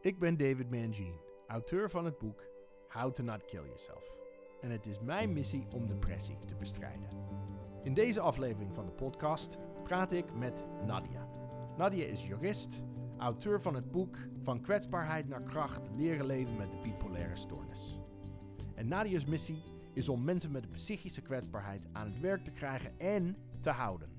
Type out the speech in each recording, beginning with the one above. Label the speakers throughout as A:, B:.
A: Ik ben David Mangine, auteur van het boek How to Not Kill Yourself. En het is mijn missie om depressie te bestrijden. In deze aflevering van de podcast praat ik met Nadia. Nadia is jurist, auteur van het boek Van kwetsbaarheid naar kracht leren leven met de bipolaire stoornis. En Nadia's missie is om mensen met een psychische kwetsbaarheid aan het werk te krijgen en te houden.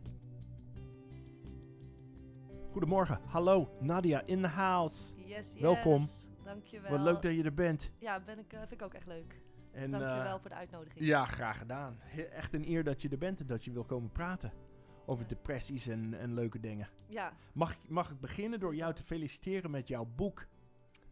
A: Goedemorgen, hallo Nadia in the house.
B: Yes, yes.
A: Welkom.
B: Dankjewel.
A: Wat leuk dat je er bent.
B: Ja, ben ik, eh, vind ik ook echt leuk.
A: En,
B: Dankjewel
A: eh,
B: voor de uitnodiging.
A: ja, graag gedaan. He- Echt een eer dat je er bent en dat je wil komen praten over depressies en, en leuke dingen.
B: Ja,
A: Mag, ik- mag ik beginnen door jou te feliciteren met jouw boek?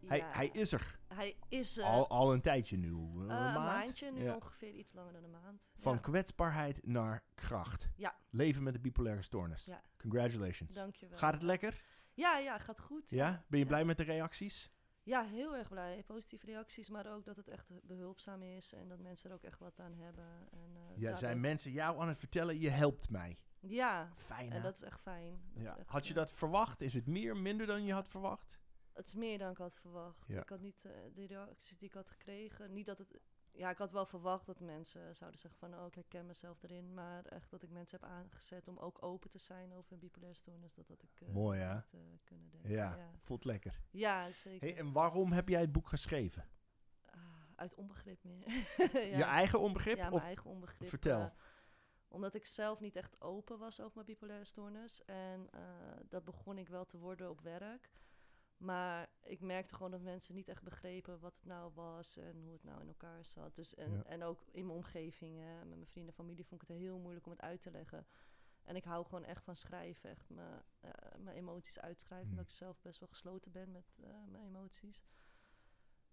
A: Hij,
B: ja.
A: hij is er
B: Hij is eh,
A: al, al een tijdje nu. eh, een
B: eh,
A: maand.
B: een maandje, nu
A: Ja.
B: ongeveer iets langer dan een maand.
A: Van
B: Ja,
A: kwetsbaarheid naar kracht.
B: Ja.
A: Leven met de bipolaire stoornis.
B: Ja.
A: Congratulations.
B: Dankjewel.
A: Gaat het lekker?
B: Ja, ja, gaat goed.
A: Ja? Ben je
B: Ja.
A: blij met de reacties?
B: Ja, heel erg blij. Positieve reacties, maar ook dat het echt behulpzaam is en dat mensen er ook echt wat aan hebben. En, eh,
A: Ja,
B: daar
A: zijn
B: ben-
A: mensen jou aan het vertellen, je helpt mij.
B: Ja,
A: Fijn hè?
B: en Eh, dat is echt fijn. Dat
A: Ja.
B: is echt,
A: Had je
B: eh,
A: dat verwacht? Is het meer, minder dan je had verwacht?
B: Het is meer dan ik had verwacht.
A: Ja.
B: Ik had niet eh, de reacties die ik had gekregen. Niet dat het. Ja, ik had wel verwacht dat mensen zouden zeggen van oh, ik herken mezelf erin. Maar echt dat ik mensen heb aangezet om ook open te zijn over een bipolaire stoornis. Dat had ik eh,
A: Mooi, hè?
B: niet, eh, kunnen denken.
A: Ja,
B: Ja, ja.
A: voelt lekker.
B: zeker.
A: Hey, eh en waarom heb jij het boek geschreven?
B: Ah, uit onbegrip meer.
A: Je eigen onbegrip?
B: Ja, mijn
A: of...
B: eigen onbegrip.
A: Vertel.
B: eh, omdat ik zelf niet echt open was over mijn bipolaire stoornis. En eh, dat begon ik wel te worden op werk. Maar ik merkte gewoon dat mensen niet echt begrepen wat het nou was en hoe het nou in elkaar zat. Dus en,
A: Ja.
B: en ook in mijn omgeving, hè, met mijn vrienden en familie, vond ik het heel moeilijk om het uit te leggen. En ik hou gewoon echt van schrijven, echt mijn, eh, mijn emoties uitschrijven.
A: Hmm.
B: Omdat ik zelf best wel gesloten ben met eh, mijn emoties.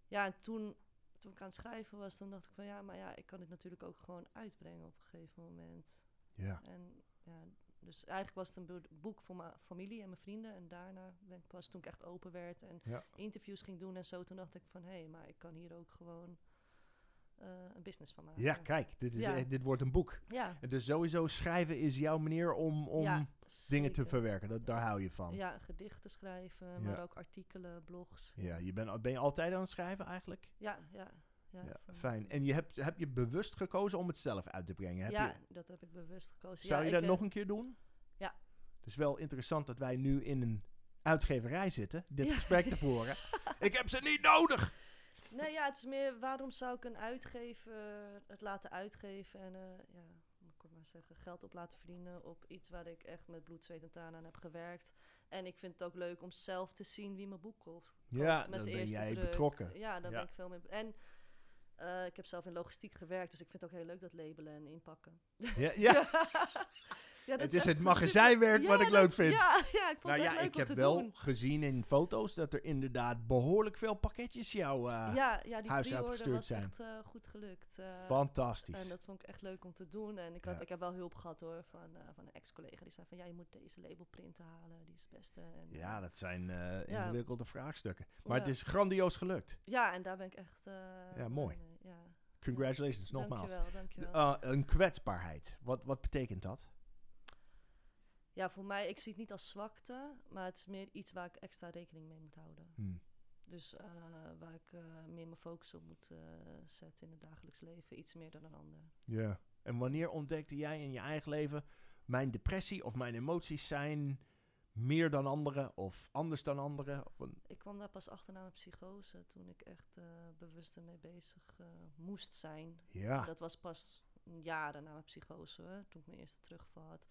B: Ja, en toen toen ik aan het schrijven was, dan dacht ik van ja, maar ja, ik kan dit natuurlijk ook gewoon uitbrengen op een gegeven moment.
A: Ja.
B: En ja, dus eigenlijk was het een boe- boek voor mijn familie en mijn vrienden. En daarna ben ik pas toen ik echt open werd en
A: Ja.
B: interviews ging doen en zo, toen dacht ik van hé, hey, maar ik kan hier ook gewoon eh, een business van maken.
A: ja, kijk, dit, is,
B: Ja.
A: eh, dit wordt een boek.
B: ja,
A: En Dus sowieso schrijven is jouw manier om, om
B: ja,
A: dingen te
B: zeker.
A: verwerken. Dat, daar hou je van. Ja,
B: Ja, gedichten schrijven, maar ook artikelen, blogs.
A: je bent ben je altijd aan het schrijven eigenlijk?
B: Ja, ja, ja.
A: Ja,
B: van-
A: fijn. En je hebt, heb je bewust gekozen om het zelf uit te brengen? Heb
B: ja,
A: je,
B: dat heb ik bewust gekozen.
A: zou
B: ja,
A: je
B: ik,
A: dat
B: eh,
A: nog een keer doen?
B: ja.
A: Het is wel interessant dat wij nu in een uitgeverij zitten, dit
B: Ja.
A: gesprek te voeren. Ik heb ze niet nodig!
B: Nee, ja, het is meer waarom zou ik een uitgever het laten uitgeven en eh, ja, moet ik het maar zeggen, geld op laten verdienen op iets waar ik echt met bloed, zweet en tranen aan heb gewerkt. En ik vind het ook leuk om zelf te zien wie mijn boek koopt.
A: Ja,
B: koopt met
A: dan
B: de
A: ben
B: eerste
A: jij
B: druk.
A: betrokken.
B: Ja, daar
A: Ja.
B: ben ik veel mee. En eh, ik heb zelf in logistiek gewerkt, dus ik vind het ook heel leuk dat labelen en inpakken.
A: Ja, ja.
B: Ja, dat
A: Het is
B: echt
A: het
B: een
A: magazijnwerk
B: super-
A: wat
B: Ja,
A: ik leuk
B: dat-
A: vind.
B: Ja, ja, ik vond
A: Nou
B: het echt
A: ja,
B: leuk
A: ik
B: om
A: heb
B: te
A: wel
B: doen.
A: gezien in foto's dat er inderdaad behoorlijk veel pakketjes jou... eh,
B: ja, ja, die
A: huis
B: pre-order
A: uitgestuurd
B: was
A: zijn.
B: echt eh, goed gelukt. eh,
A: Fantastisch.
B: En dat vond ik echt leuk om te doen. En ik, had,
A: Ja.
B: ik heb wel hulp gehad hoor van, eh, van een ex-collega. Die zei van, ja, je moet deze labelprint halen. Die is het beste. En, eh,
A: Ja, dat zijn eh,
B: Ja.
A: ingewikkelde vraagstukken. Maar het
B: Ja.
A: is grandioos gelukt.
B: ja, en daar ben ik echt... eh,
A: Ja, mooi.
B: blij mee. Ja.
A: Congratulations, nogmaals.
B: Dankjewel, dankjewel.
A: Eh, een kwetsbaarheid. Wat, wat betekent dat?
B: ja, voor mij, ik zie het niet als zwakte. Maar het is meer iets waar ik extra rekening mee moet houden.
A: Hm.
B: Dus eh, waar ik eh, meer mijn focus op moet eh, zetten in het dagelijks leven. Iets meer dan een ander.
A: Ja. En wanneer ontdekte jij in je eigen leven... mijn depressie of mijn emoties zijn meer dan anderen... of anders dan anderen? Of een-
B: Ik kwam daar pas achter na mijn psychose. Toen ik echt eh, bewust ermee bezig eh, moest zijn.
A: Ja.
B: Dat was pas jaren na mijn psychose, hè, toen ik mijn eerste terugval had.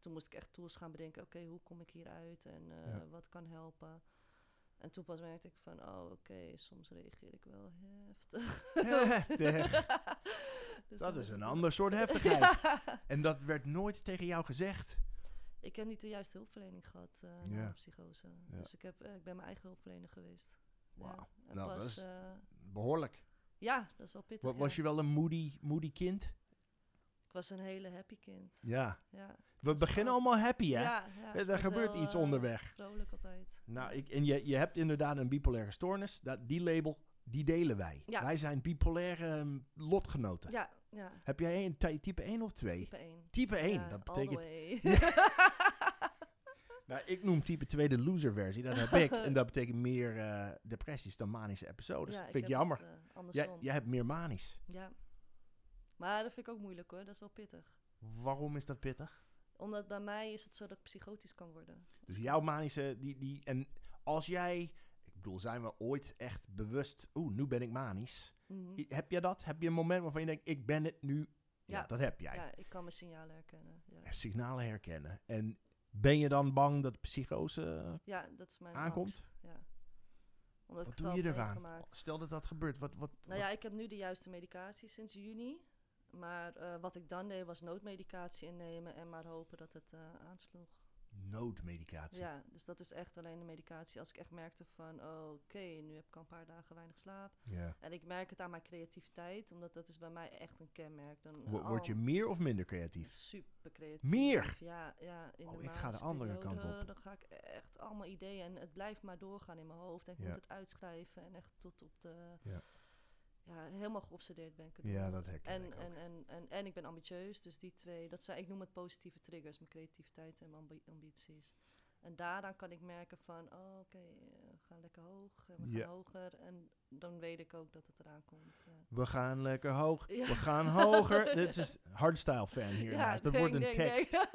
B: Toen moest ik echt tools gaan bedenken, oké, hoe kom ik hieruit en eh,
A: Ja.
B: wat kan helpen. En toen pas merkte ik van, oh oké, soms reageer ik wel heftig.
A: Heftig. Dat
B: Dus dan
A: is
B: het
A: een
B: wel-
A: ander soort heftigheid. En dat werd nooit tegen jou gezegd.
B: Ik heb niet de juiste hulpverlening gehad eh, na
A: Ja.
B: mijn psychose.
A: Ja.
B: Dus ik, heb, eh, ik ben mijn eigen hulpverlener geweest.
A: Wauw.
B: En
A: Nou,
B: pas,
A: dat is-
B: eh,
A: Behoorlijk.
B: ja, dat is wel pittig.
A: Wa- Was
B: ja.
A: je wel een moody, moody kind?
B: Ik was een hele happy kind.
A: Ja.
B: Ja,
A: We beginnen allemaal happy, hè?
B: ja, ja,
A: Eh,
B: ik
A: er
B: was
A: gebeurt
B: heel,
A: iets
B: eh,
A: onderweg.
B: Vrolijk altijd.
A: Nou, ik, en je, je hebt inderdaad een bipolaire stoornis. Dat, die label, die delen wij.
B: Ja.
A: Wij zijn bipolaire ehm, lotgenoten.
B: Ja, ja.
A: Heb jij een, ty- type 1 of 2?
B: Type 1.
A: Type 1,
B: Ja,
A: dat
B: all the
A: betekent...
B: way.
A: Nou, ik noem type 2 de loser versie. Dat heb ik. En dat betekent meer eh, depressies dan manische episodes.
B: Ja,
A: Oh, vind ik
B: heb
A: jammer.
B: dat, eh,
A: jij,
B: andersom.
A: jij hebt meer manisch.
B: Ja. Maar dat vind ik ook moeilijk hoor, dat is wel pittig.
A: Waarom is dat pittig?
B: Omdat bij mij is het zo dat ik psychotisch kan worden.
A: Dus jouw manische... Die, die, en als jij... Ik bedoel, zijn we ooit echt bewust... Oeh, nu ben ik manisch.
B: Mhm.
A: I- Heb je dat? Heb je een moment waarvan je denkt... Ik ben het nu. Ja,
B: Ja.
A: dat heb jij.
B: Ja, ik kan mijn signalen herkennen. Ja,
A: Signalen herkennen. En ben je dan bang dat psychose...
B: ja dat is mijn
A: Aankomt?
B: angst. Ja. Omdat
A: Wat
B: ik het
A: doe je
B: al heb
A: eraan?
B: meegemaakt.
A: Stel dat dat gebeurt. Wat, wat,
B: Nou ja, ik heb nu de juiste medicatie sinds juni. Maar eh, wat ik dan deed was noodmedicatie innemen en maar hopen dat het eh, aansloeg.
A: Noodmedicatie.
B: Ja, dus dat is echt alleen de medicatie. Als ik echt merkte van, oh, oké, nu heb ik al een paar dagen weinig slaap.
A: Ja.
B: En ik merk het aan mijn creativiteit, omdat dat is bij mij echt een kenmerk. Dan,
A: Wo-
B: eh,
A: Word
B: al
A: je meer of minder creatief?
B: Super creatief.
A: Meer?
B: Ja, ja. In
A: Oh,
B: de
A: ik ga de
B: maandse
A: andere kant
B: periode,
A: op.
B: Dan ga ik echt allemaal ideeën en het blijft maar doorgaan in mijn hoofd. En ik
A: Ja.
B: moet het uitschrijven en echt tot op de...
A: Ja.
B: Ja. helemaal geobsedeerd ben ik erdoor.
A: Ja, dat herken
B: en,
A: ik ook.
B: en, en, en, en ik ben ambitieus, dus die twee, dat zijn, ik noem het positieve triggers, mijn creativiteit en mijn ambi- ambities. En daaraan kan ik merken van, oh, oké, eh, we gaan lekker hoog, en we
A: Ja.
B: gaan hoger. En dan weet ik ook dat het eraan komt. eh.
A: We gaan lekker hoog.
B: Ja.
A: We gaan hoger. Dit is hardstyle fan hier. naast. dat
B: ding,
A: wordt een
B: ding,
A: tekst.
B: ding.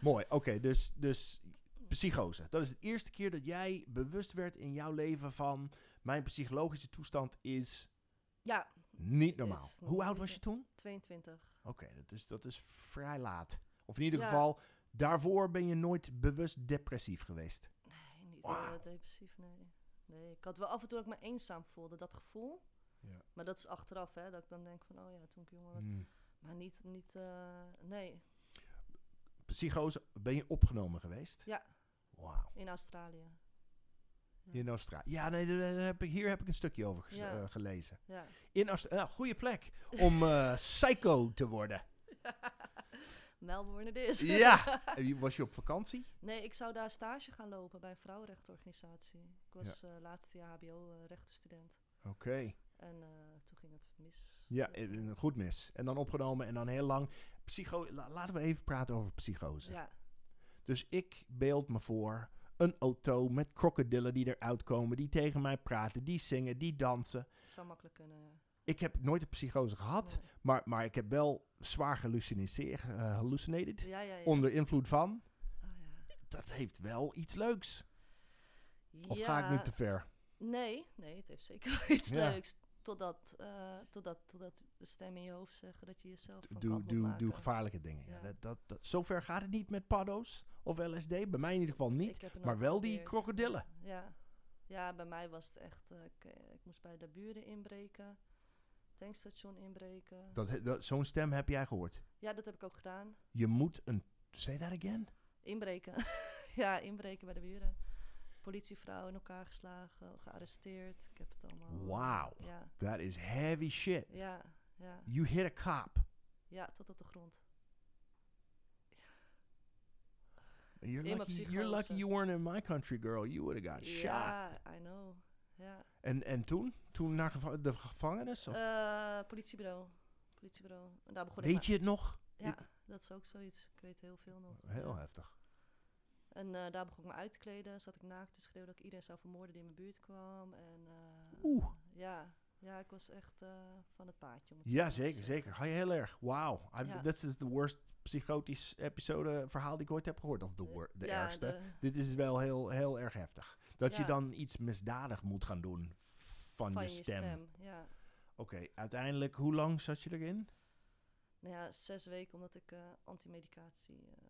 A: Mooi. Oké, dus, dus psychose. Dat is de eerste keer dat jij bewust werd in jouw leven van... Mijn psychologische toestand is
B: ja,
A: niet normaal.
B: Is
A: Hoe oud
B: niet-
A: was je toen?
B: 22.
A: Oké, dat, is, dat is vrij laat. Of in ieder
B: Ja.
A: geval, daarvoor ben je nooit bewust depressief geweest.
B: Nee, niet
A: Wauw.
B: eh, depressief, nee. Nee, ik had wel af en toe dat ik me eenzaam voelde, dat gevoel.
A: Ja.
B: Maar dat is achteraf, hè, dat ik dan denk van, oh ja, toen ik jonger was.
A: Hmm.
B: Maar niet, niet eh, nee,
A: Psychose, ben je opgenomen geweest?
B: Ja.
A: Wauw.
B: in Australië.
A: In Australië. Ja, nee, daar- daar heb ik, hier heb ik een stukje over ges-
B: Ja.
A: eh, gelezen.
B: Ja.
A: In Australië. Nou, goede plek om eh, psycho te worden.
B: Melbourne het is.
A: Ja. En je- Was je op vakantie?
B: Nee, ik zou daar stage gaan lopen bij een vrouwenrechtenorganisatie. Ik was eh, laatste jaar HBO-rechtenstudent.
A: Oké.
B: eh, en eh, toen ging het mis.
A: Ja, eh, eh, goed mis. En dan opgenomen en dan heel lang. Psycho la- laten we even praten over psychose.
B: ja.
A: Dus ik beeld me voor een auto met krokodillen die eruit komen, die tegen mij praten, die zingen, die dansen.
B: zou makkelijk kunnen, ja.
A: Ik heb nooit een psychose gehad,
B: Nee.
A: maar, maar ik heb wel zwaar gehallucineerd, eh, hallucinated.
B: Ja, ja, ja.
A: Onder invloed van.
B: Oh, ja.
A: Dat heeft wel iets leuks. Of ga ik nu
B: Ja.
A: te ver?
B: Nee, nee, het heeft zeker wel iets
A: Ja.
B: leuks. Totdat, eh, totdat, totdat de stem in je hoofd zeggen dat je jezelf van kant
A: Doe,
B: moet
A: doe,
B: maken.
A: doe gevaarlijke dingen. Ja,
B: Ja.
A: dat, dat, dat, zover gaat het niet met paddo's of LSD. Bij mij in ieder geval niet.
B: Ik heb het
A: maar
B: nooit
A: wel die
B: geprobeerd.
A: krokodillen.
B: Ja. ja, bij mij was het echt... eh, ik, eh, ik moest bij de buren inbreken. Tankstation inbreken.
A: Dat, dat, Zo'n stem heb jij gehoord.
B: Ja, dat heb ik ook gedaan.
A: Je moet een... Say that again?
B: Inbreken. ja, inbreken bij de buren. Politievrouw in elkaar geslagen, gearresteerd. Ik heb het allemaal... eh,
A: Wauw.
B: Ja,
A: That is heavy shit.
B: ja, ja.
A: You hit a cop.
B: Ja, tot op de grond.
A: You're
B: In mijn
A: lucky, you're lucky
B: psychose.
A: you weren't in my country, girl. You would have got shot.
B: ja, I know. Ja.
A: En, en toen? Toen naar geva- de gevangenis? Of?
B: Eh, politiebureau. Politiebureau. En daar begon ik.
A: Weet je het nog?
B: mijn- Ja, dat is ook zoiets. Ik weet heel veel nog.
A: Heel
B: Ja.
A: heftig.
B: En eh, daar begon ik me uit te kleden. Zat ik naakt te schreeuwen dat ik iedereen zou vermoorden die in mijn buurt kwam. En, eh,
A: Oeh.
B: Ja, ja, ik was echt eh, van het paadje. om het zo
A: Ja,
B: maar te
A: zeker,
B: zeggen.
A: zeker. Ga je heel erg. Wauw. I-
B: Ja.
A: Dit is de worst psychotisch episode eh, verhaal die ik ooit heb gehoord. Of de, wor- de
B: Eh, Ja,
A: ergste.
B: de-
A: Dit is wel heel, heel erg heftig. Dat je
B: Ja.
A: dan iets misdadig moet gaan doen van,
B: van
A: je stem.
B: Ja.
A: Oké, uiteindelijk, hoe lang zat je erin?
B: Nou ja, zes weken omdat ik eh antimedicatie eh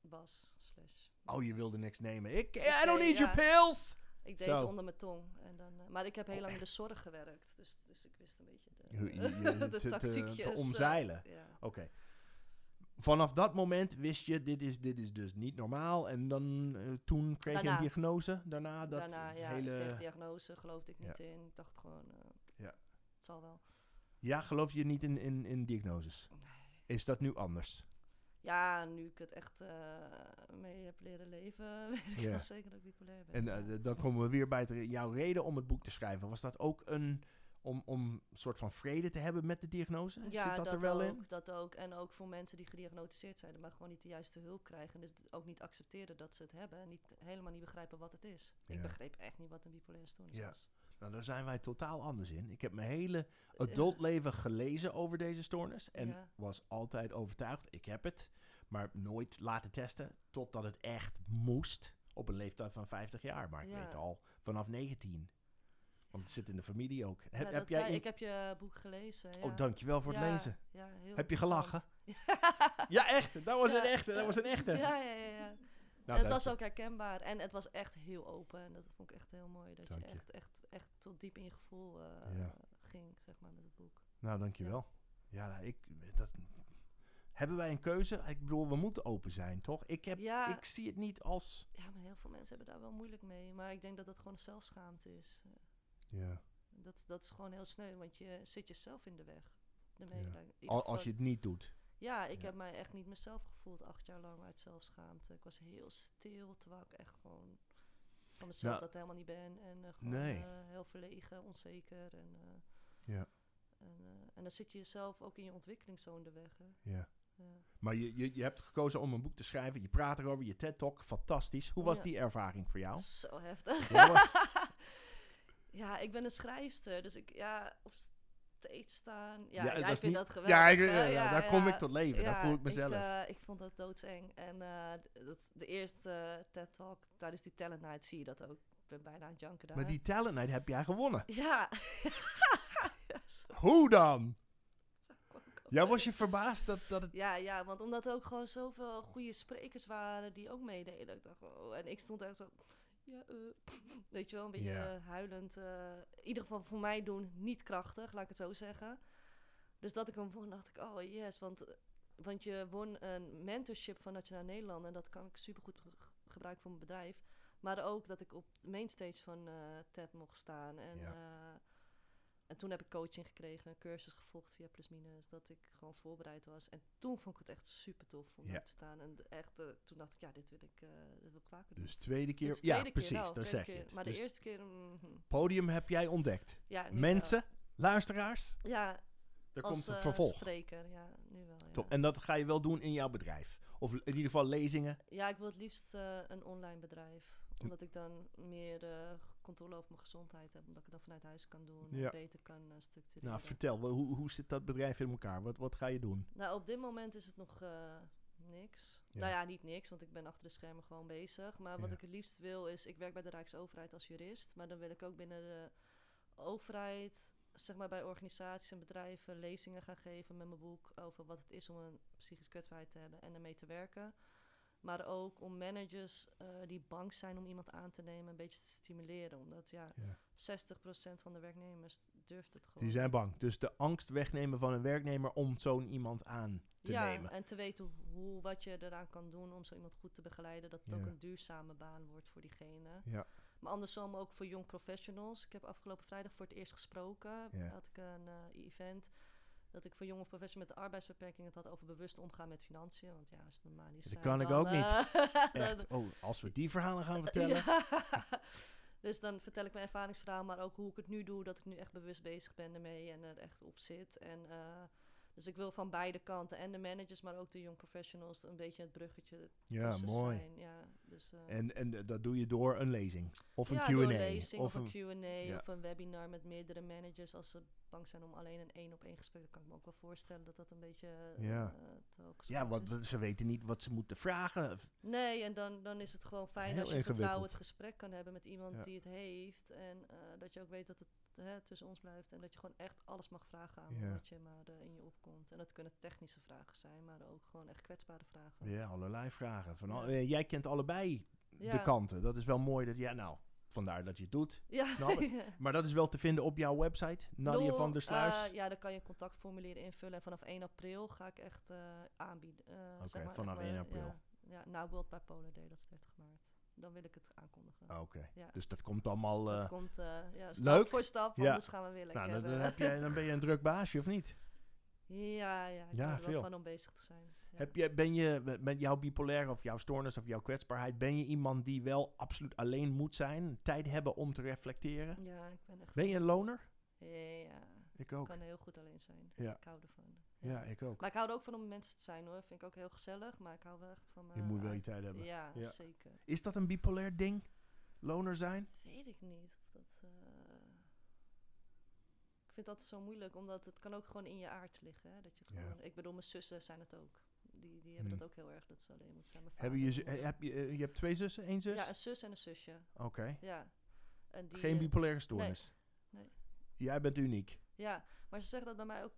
B: was. Slash.
A: Oh, je wilde niks nemen. Ik, I
B: Oké,
A: don't need your
B: ja.
A: pills!
B: Ik deed
A: Zo.
B: het onder mijn tong. En dan, eh, maar ik heb heel
A: Oh,
B: lang in de zorg gewerkt. Dus, dus ik wist een beetje de,
A: Hoe- je- je- te- te- te
B: tactiekjes, eh,
A: omzeilen.
B: ja.
A: Oké. Vanaf dat moment wist je, dit is, dit is dus niet normaal. En dan, eh, toen kreeg je
B: Daarna.
A: een diagnose. Daarna dat
B: Daarna, ja,
A: hele...
B: ik kreeg diagnose, geloofde ik
A: Ja.
B: niet in. Ik dacht gewoon, eh,
A: Ja.
B: het zal wel.
A: Ja, geloof je niet in, in, in diagnoses? Is dat nu anders?
B: Ja, nu ik het echt eh, mee heb leren leven, weet ik
A: Ja.
B: wel zeker dat ik bipolair ben.
A: En
B: ja.
A: eh, d- dan komen we weer bij het re- jouw reden om het boek te schrijven. Was dat ook een om, om een soort van vrede te hebben met de diagnose? Zit dat,
B: dat
A: er wel
B: ook,
A: in?
B: dat ook. En ook voor mensen die gediagnosticeerd zijn, maar gewoon niet de juiste hulp krijgen. En dus het ook niet accepteren dat ze het hebben. En niet, helemaal niet begrijpen wat het is.
A: Ja.
B: Ik begreep echt niet wat een bipolaire stoornis
A: Ja.
B: was.
A: Nou, daar zijn wij totaal anders in. Ik heb mijn hele
B: Ja.
A: adultleven gelezen over deze stoornis. En
B: Eh. Ja.
A: was altijd overtuigd, ik heb het. Maar nooit laten testen totdat het echt moest. Op een leeftijd van 50 jaar. Maar ik
B: Ja.
A: weet al, vanaf 19. Want het zit in de familie ook. Heb,
B: Ja,
A: heb
B: dat
A: jij...
B: zei-
A: in-
B: Ik heb je boek gelezen. Ja.
A: Oh, dankjewel voor het
B: Ja,
A: lezen.
B: ja, heel
A: Heb je
B: interessant.
A: gelachen? Ja, echt. Dat was
B: Ja,
A: een echte. Dat
B: ja.
A: was een echte.
B: Ja, ja, ja. ja.
A: Nou, dank
B: het was
A: je.
B: ook herkenbaar. En het was echt heel open. En dat vond ik echt heel mooi. Dat
A: Dank
B: je
A: je.
B: echt, echt, echt tot diep in je gevoel eh,
A: Ja.
B: ging, zeg maar, met het boek.
A: Nou, dankjewel. Ja, nou, ik... Dat... Hebben wij een keuze? Ik bedoel, we moeten open zijn, toch? Ik, heb,
B: Ja.
A: ik zie het niet als...
B: Ja, maar heel veel mensen hebben daar wel moeilijk mee. Maar ik denk dat dat gewoon zelfschaamte is. Eh,
A: Ja.
B: Dat, dat is gewoon heel sneu, want je zit jezelf in de weg.
A: Ja.
B: Daarmee, daar- ik
A: Al-
B: gewoon-
A: als je het niet doet.
B: Ja, ik
A: Ja.
B: heb mij echt niet mezelf gevoeld acht jaar lang uit zelfschaamte. Ik was heel stil, terwijl ik echt gewoon van mezelf
A: Nou,
B: dat helemaal niet ben. En eh, gewoon
A: nee.
B: eh, heel verlegen, onzeker. En, eh,
A: Ja.
B: en, eh, en dan zit je jezelf ook in je ontwikkelingszone de weg. Hè.
A: Ja.
B: Ja.
A: Maar je, je, je hebt gekozen om een boek te schrijven. Je praat erover, je TED-talk. Fantastisch. Hoe was
B: Ja.
A: die ervaring voor jou?
B: Zo heftig.
A: Nou. Ja,
B: ja, ik ben een schrijfster, dus ik ja, op stage staan.
A: Ja,
B: Ja, ja,
A: dat
B: ik
A: is
B: vind
A: niet-
B: dat geweldig.
A: ja, ik-
B: hè.
A: ja,
B: Ja,
A: daar kom
B: ja.
A: ik tot leven. daar voel ik mezelf.
B: Ik, eh, ik vond dat doodseng. En eh, d- dat, de eerste eh, TED Talk tijdens die Talent Night zie je dat ook. Ik ben bijna aan het janken daar.
A: maar die talent night heb jij gewonnen.
B: Ja.
A: Hoe dan? Ja, was je verbaasd dat, dat het...
B: ja, ja, want omdat er ook gewoon zoveel goede sprekers waren die ook meededen. Ik dacht, oh, en ik stond echt zo... Ja, eh, weet je wel, een beetje
A: Ja.
B: eh, huilend. eh, in ieder geval voor mij doen niet krachtig, laat ik het zo zeggen. Dus dat ik hem won, dacht ik, oh yes, want, eh, want je won een mentorship van Nationaal Nederland. En dat kan ik supergoed ge- gebruiken voor mijn bedrijf. Maar ook dat ik op de mainstage van eh, TED mocht staan. En,
A: Ja.
B: eh, en toen heb ik coaching gekregen, een cursus gevolgd via Plusminus. Dat ik gewoon voorbereid was. En toen vond ik het echt super tof om
A: Ja.
B: daar te staan. En de- echt, eh, toen dacht ik, ja, dit wil ik, eh dit wil ik vaker doen.
A: Dus tweede keer...
B: Dit is de tweede
A: ja,
B: keer
A: precies.
B: wel,
A: daar
B: tweede
A: zeg
B: keer.
A: je het.
B: Maar
A: Dus
B: de eerste keer... mhm.
A: podium heb jij ontdekt.
B: ja, nu wel.
A: Mensen, luisteraars,
B: Ja,
A: er
B: als
A: komt een
B: eh,
A: vervolg.
B: spreker, ja, nu wel. Ja.
A: Top. En dat ga je wel doen in jouw bedrijf. Of in ieder geval lezingen.
B: Ja, ik wil het liefst eh, een online bedrijf. Omdat ik dan meer eh, controle over mijn gezondheid heb. Omdat ik het dan vanuit huis kan doen. en
A: Ja.
B: Beter kan eh, structureren.
A: Nou,
B: Nou,
A: vertel, wel, hoe, hoe zit dat bedrijf in elkaar? Wat, wat ga je doen?
B: Nou, op dit moment is het nog eh, niks.
A: Ja.
B: Nou ja, niet niks, want ik ben achter de schermen gewoon bezig. Maar wat
A: Ja.
B: ik het liefst wil is, ik werk bij de Rijksoverheid als jurist. Maar dan wil ik ook binnen de overheid, zeg maar bij organisaties en bedrijven, lezingen gaan geven met mijn boek. Over wat het is om een psychische kwetsbaarheid te hebben en ermee te werken. Maar ook om managers eh, die bang zijn om iemand aan te nemen, een beetje te stimuleren. Omdat ja,
A: Ja.
B: 60% van de werknemers durft het gewoon.
A: Die zijn
B: niet.
A: bang. Dus de angst wegnemen van een werknemer om zo'n iemand aan te
B: ja,
A: nemen.
B: en te weten hoe, wat je eraan kan doen om zo iemand goed te begeleiden. Dat het ook
A: Ja.
B: een duurzame baan wordt voor diegene.
A: Ja.
B: Maar andersom ook voor jong professionals. Ik heb afgelopen vrijdag voor het eerst gesproken.
A: Ja.
B: Had ik een eh, event dat ik voor jonge professionals met een arbeidsbeperking het had over bewust omgaan met financiën. Want ja, als we manisch
A: Dat
B: zijn,
A: kan ik
B: dan,
A: ook niet.
B: eh, dan-
A: Echt, oh, als we die verhalen gaan vertellen.
B: Ja. Dus dan vertel ik mijn ervaringsverhaal, maar ook hoe ik het nu doe. Dat ik nu echt bewust bezig ben ermee en er echt op zit. En, eh, dus ik wil van beide kanten, en de managers, maar ook de young professionals, een beetje het bruggetje
A: Ja,
B: tussen
A: mooi.
B: zijn. eh, Ja, dus, eh,
A: En, en eh, dat doe je door een lezing. Of een
B: ja,
A: Q&A.
B: door een lezing
A: of
B: of,
A: een,
B: een Q&A
A: ja.
B: of een webinar met meerdere managers. Als ze bang zijn om alleen een één-op-één gesprek, dan kan ik me ook wel voorstellen dat dat een beetje... eh,
A: Ja.
B: te
A: ja,
B: hoog geschoten
A: want
B: is.
A: dat- ze weten niet wat ze moeten vragen. F-
B: Nee, en dan, dan is het gewoon fijn
A: Heel
B: als je vertrouwen
A: ingewikkeld.
B: het gesprek kan hebben met iemand
A: Ja.
B: die het heeft. En eh, dat je ook weet dat het hè, tussen ons blijft. En dat je gewoon echt alles mag vragen aan
A: Ja.
B: wat je maar eh, in je opkomt. En dat kunnen technische vragen zijn, maar ook gewoon echt kwetsbare vragen.
A: Ja, allerlei vragen. Van al-
B: Ja.
A: eh, jij kent allebei de
B: Ja.
A: kanten. Dat is wel mooi dat jij, nou, vandaar dat je het doet.
B: Ja,
A: Snap ik.
B: ja.
A: Maar dat is wel te vinden op jouw website. Nadia
B: Door,
A: van der Sluis.
B: eh, ja, dan kan je een contactformulier invullen. En vanaf 1 april ga ik echt eh, aanbieden. eh, zeg
A: Oké,
B: maar, echt
A: vanaf
B: maar,
A: 1 april.
B: Ja, ja, na World Bipolar Day, dat is 30 maart. Dan wil ik het aankondigen.
A: Oké,
B: Ja.
A: dus dat komt allemaal... eh,
B: dat komt eh, ja, stap
A: leuk.
B: voor stap,
A: Ja.
B: anders gaan we weer lekker...
A: nou, dan, dan
B: eh,
A: heb jij, dan ben je een druk baasje, of niet?
B: Ja, ja, ik
A: Ja,
B: ben er
A: veel.
B: wel van om bezig te zijn. Ja.
A: Heb je, ben je met- met jouw bipolaire of jouw stoornis of jouw kwetsbaarheid, ben je iemand die wel absoluut alleen moet zijn, tijd hebben om te reflecteren?
B: Ja, ik ben echt...
A: Ben je een loner?
B: Ja,
A: Ik ook.
B: kan heel goed alleen zijn.
A: Ja.
B: Ik hou ervan.
A: Ja, ik ook.
B: Maar ik hou er ook van om met mensen te zijn hoor. Vind ik ook heel gezellig, maar ik hou wel echt van.
A: Je
B: eh,
A: moet wel
B: uit-
A: je tijd hebben.
B: Ja,
A: Ja.
B: zeker.
A: Is dat een bipolair ding? Loner zijn?
B: Weet ik niet of dat. eh, Ik vind dat zo moeilijk, omdat het kan ook gewoon in je aard liggen. Hè? Dat je
A: Ja.
B: gewoon... Ik bedoel, mijn zussen zijn het ook. Die, die hebben
A: Hmm.
B: dat ook heel erg, dat ze alleen moeten zijn. Mijn
A: Hebben je,
B: vader,
A: zu- eh,
B: moeder.
A: heb je, eh, je hebt twee zussen, één zus?
B: Ja, een zus en een zusje.
A: Oké.
B: Ja. En die,
A: Geen
B: eh,
A: bipolaire stoornis.
B: nee.
A: Jij bent uniek.
B: Ja, maar ze zeggen dat bij mij ook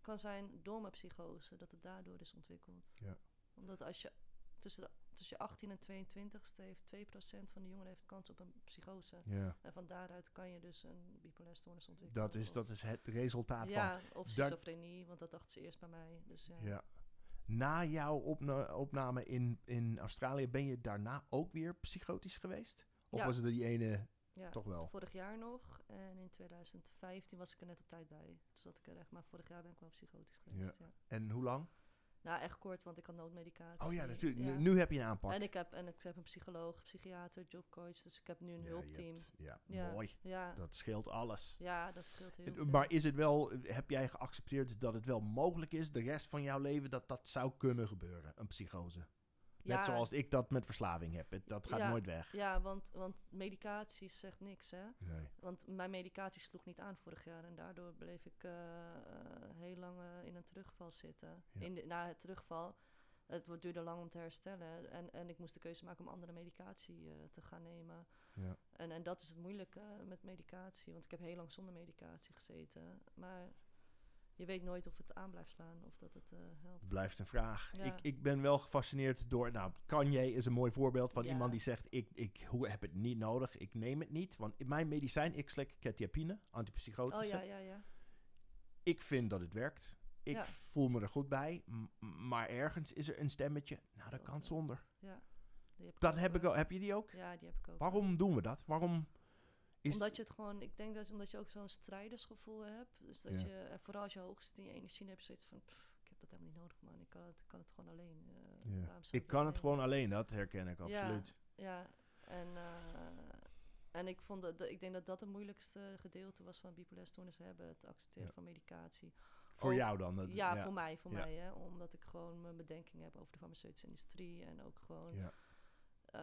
B: kan zijn door mijn psychose, dat het daardoor is ontwikkeld.
A: Ja.
B: Omdat als je tussen, de, tussen je 18 en 22 heeft 2% van de jongeren heeft kans op een psychose.
A: Ja.
B: En van daaruit kan je dus een bipolaire stoornis ontwikkelen.
A: Dat is,
B: of-
A: dat is het resultaat van.
B: Ja, of
A: dat-
B: schizofrenie, want dat dachten ze eerst bij mij. Dus ja.
A: Ja. Na jouw opna- opname in, in Australië ben je daarna ook weer psychotisch geweest? Of
B: Ja.
A: was het die ene
B: Ja,
A: toch wel?
B: Vorig jaar nog. En in 2015 was ik er net op tijd bij. Toen zat ik er echt, maar vorig jaar ben ik wel psychotisch geweest. Ja.
A: En hoe lang?
B: Nou, echt kort, want ik had noodmedicatie.
A: Oh ja, natuurlijk.
B: Ja.
A: Nu, nu heb je een aanpak.
B: En ik, heb, en ik heb een psycholoog, psychiater, jobcoach. Dus ik heb nu een
A: Ja, je
B: hulpteam.
A: hebt- ja,
B: Ja.
A: mooi.
B: Ja,
A: Dat scheelt alles.
B: ja, dat scheelt heel
A: Het-
B: veel.
A: Maar is het wel, heb jij geaccepteerd dat het wel mogelijk is de rest van jouw leven dat dat zou kunnen gebeuren, een psychose?
B: ja,
A: Net zoals ik dat met verslaving heb. Het- Dat gaat
B: Ja.
A: nooit weg.
B: Ja, want, want medicatie zegt niks, hè.
A: Nee.
B: Want mijn medicatie sloeg niet aan vorig jaar. En daardoor bleef ik eh, eh, heel lang eh, in een terugval zitten.
A: Ja.
B: In de, na het terugval, het wo- duurde lang om te herstellen. En, en ik moest de keuze maken om andere medicatie eh, te gaan nemen.
A: Ja.
B: En, en dat is het moeilijke eh, met medicatie. Want ik heb heel lang zonder medicatie gezeten. Maar je weet nooit of het aan blijft slaan of dat het eh, helpt.
A: Het blijft een vraag.
B: Ja.
A: Ik, ik ben wel gefascineerd door. Nou, Kanye is een mooi voorbeeld van
B: Ja.
A: iemand die zegt: ik, ik hoe, heb het niet nodig, ik neem het niet. Want in mijn medicijn, ik slik ketiapine,
B: Oh
A: antipsychotische.
B: ja, ja, ja.
A: Ik vind dat het werkt. Ik
B: Ja.
A: voel me er goed bij. M- maar ergens is er een stemmetje. Nou, dat
B: Dat eh,
A: kan
B: werkt.
A: zonder.
B: ja. Die heb ik
A: Dat heb ik
B: hoor.
A: ook. Heb je die ook?
B: Ja, die heb ik ook.
A: Waarom doen we dat? Waarom is
B: omdat je het gewoon, ik denk dat is omdat je ook zo'n strijdersgevoel hebt. Dus dat
A: Ja.
B: je, en vooral als je hoog zit in je energie, dan heb je zoiets van, "Pff, ik heb dat helemaal niet nodig, man. Ik kan het, ik kan het gewoon alleen. eh, waarom zou
A: Ik
B: dat
A: kan het
B: alleen?"
A: gewoon alleen, dat herken ik
B: Ja.
A: absoluut.
B: Ja, en, eh, en ik, vond dat, ik denk dat dat het moeilijkste gedeelte was van bipolaire stoornis hebben. Het accepteren
A: Ja.
B: van medicatie.
A: Voor
B: Ook-
A: jou dan. dat-
B: ja, voor mij, voor
A: Ja.
B: mij. Hè, omdat ik gewoon mijn bedenkingen heb over de farmaceutische industrie. En ook gewoon,
A: Ja.
B: eh,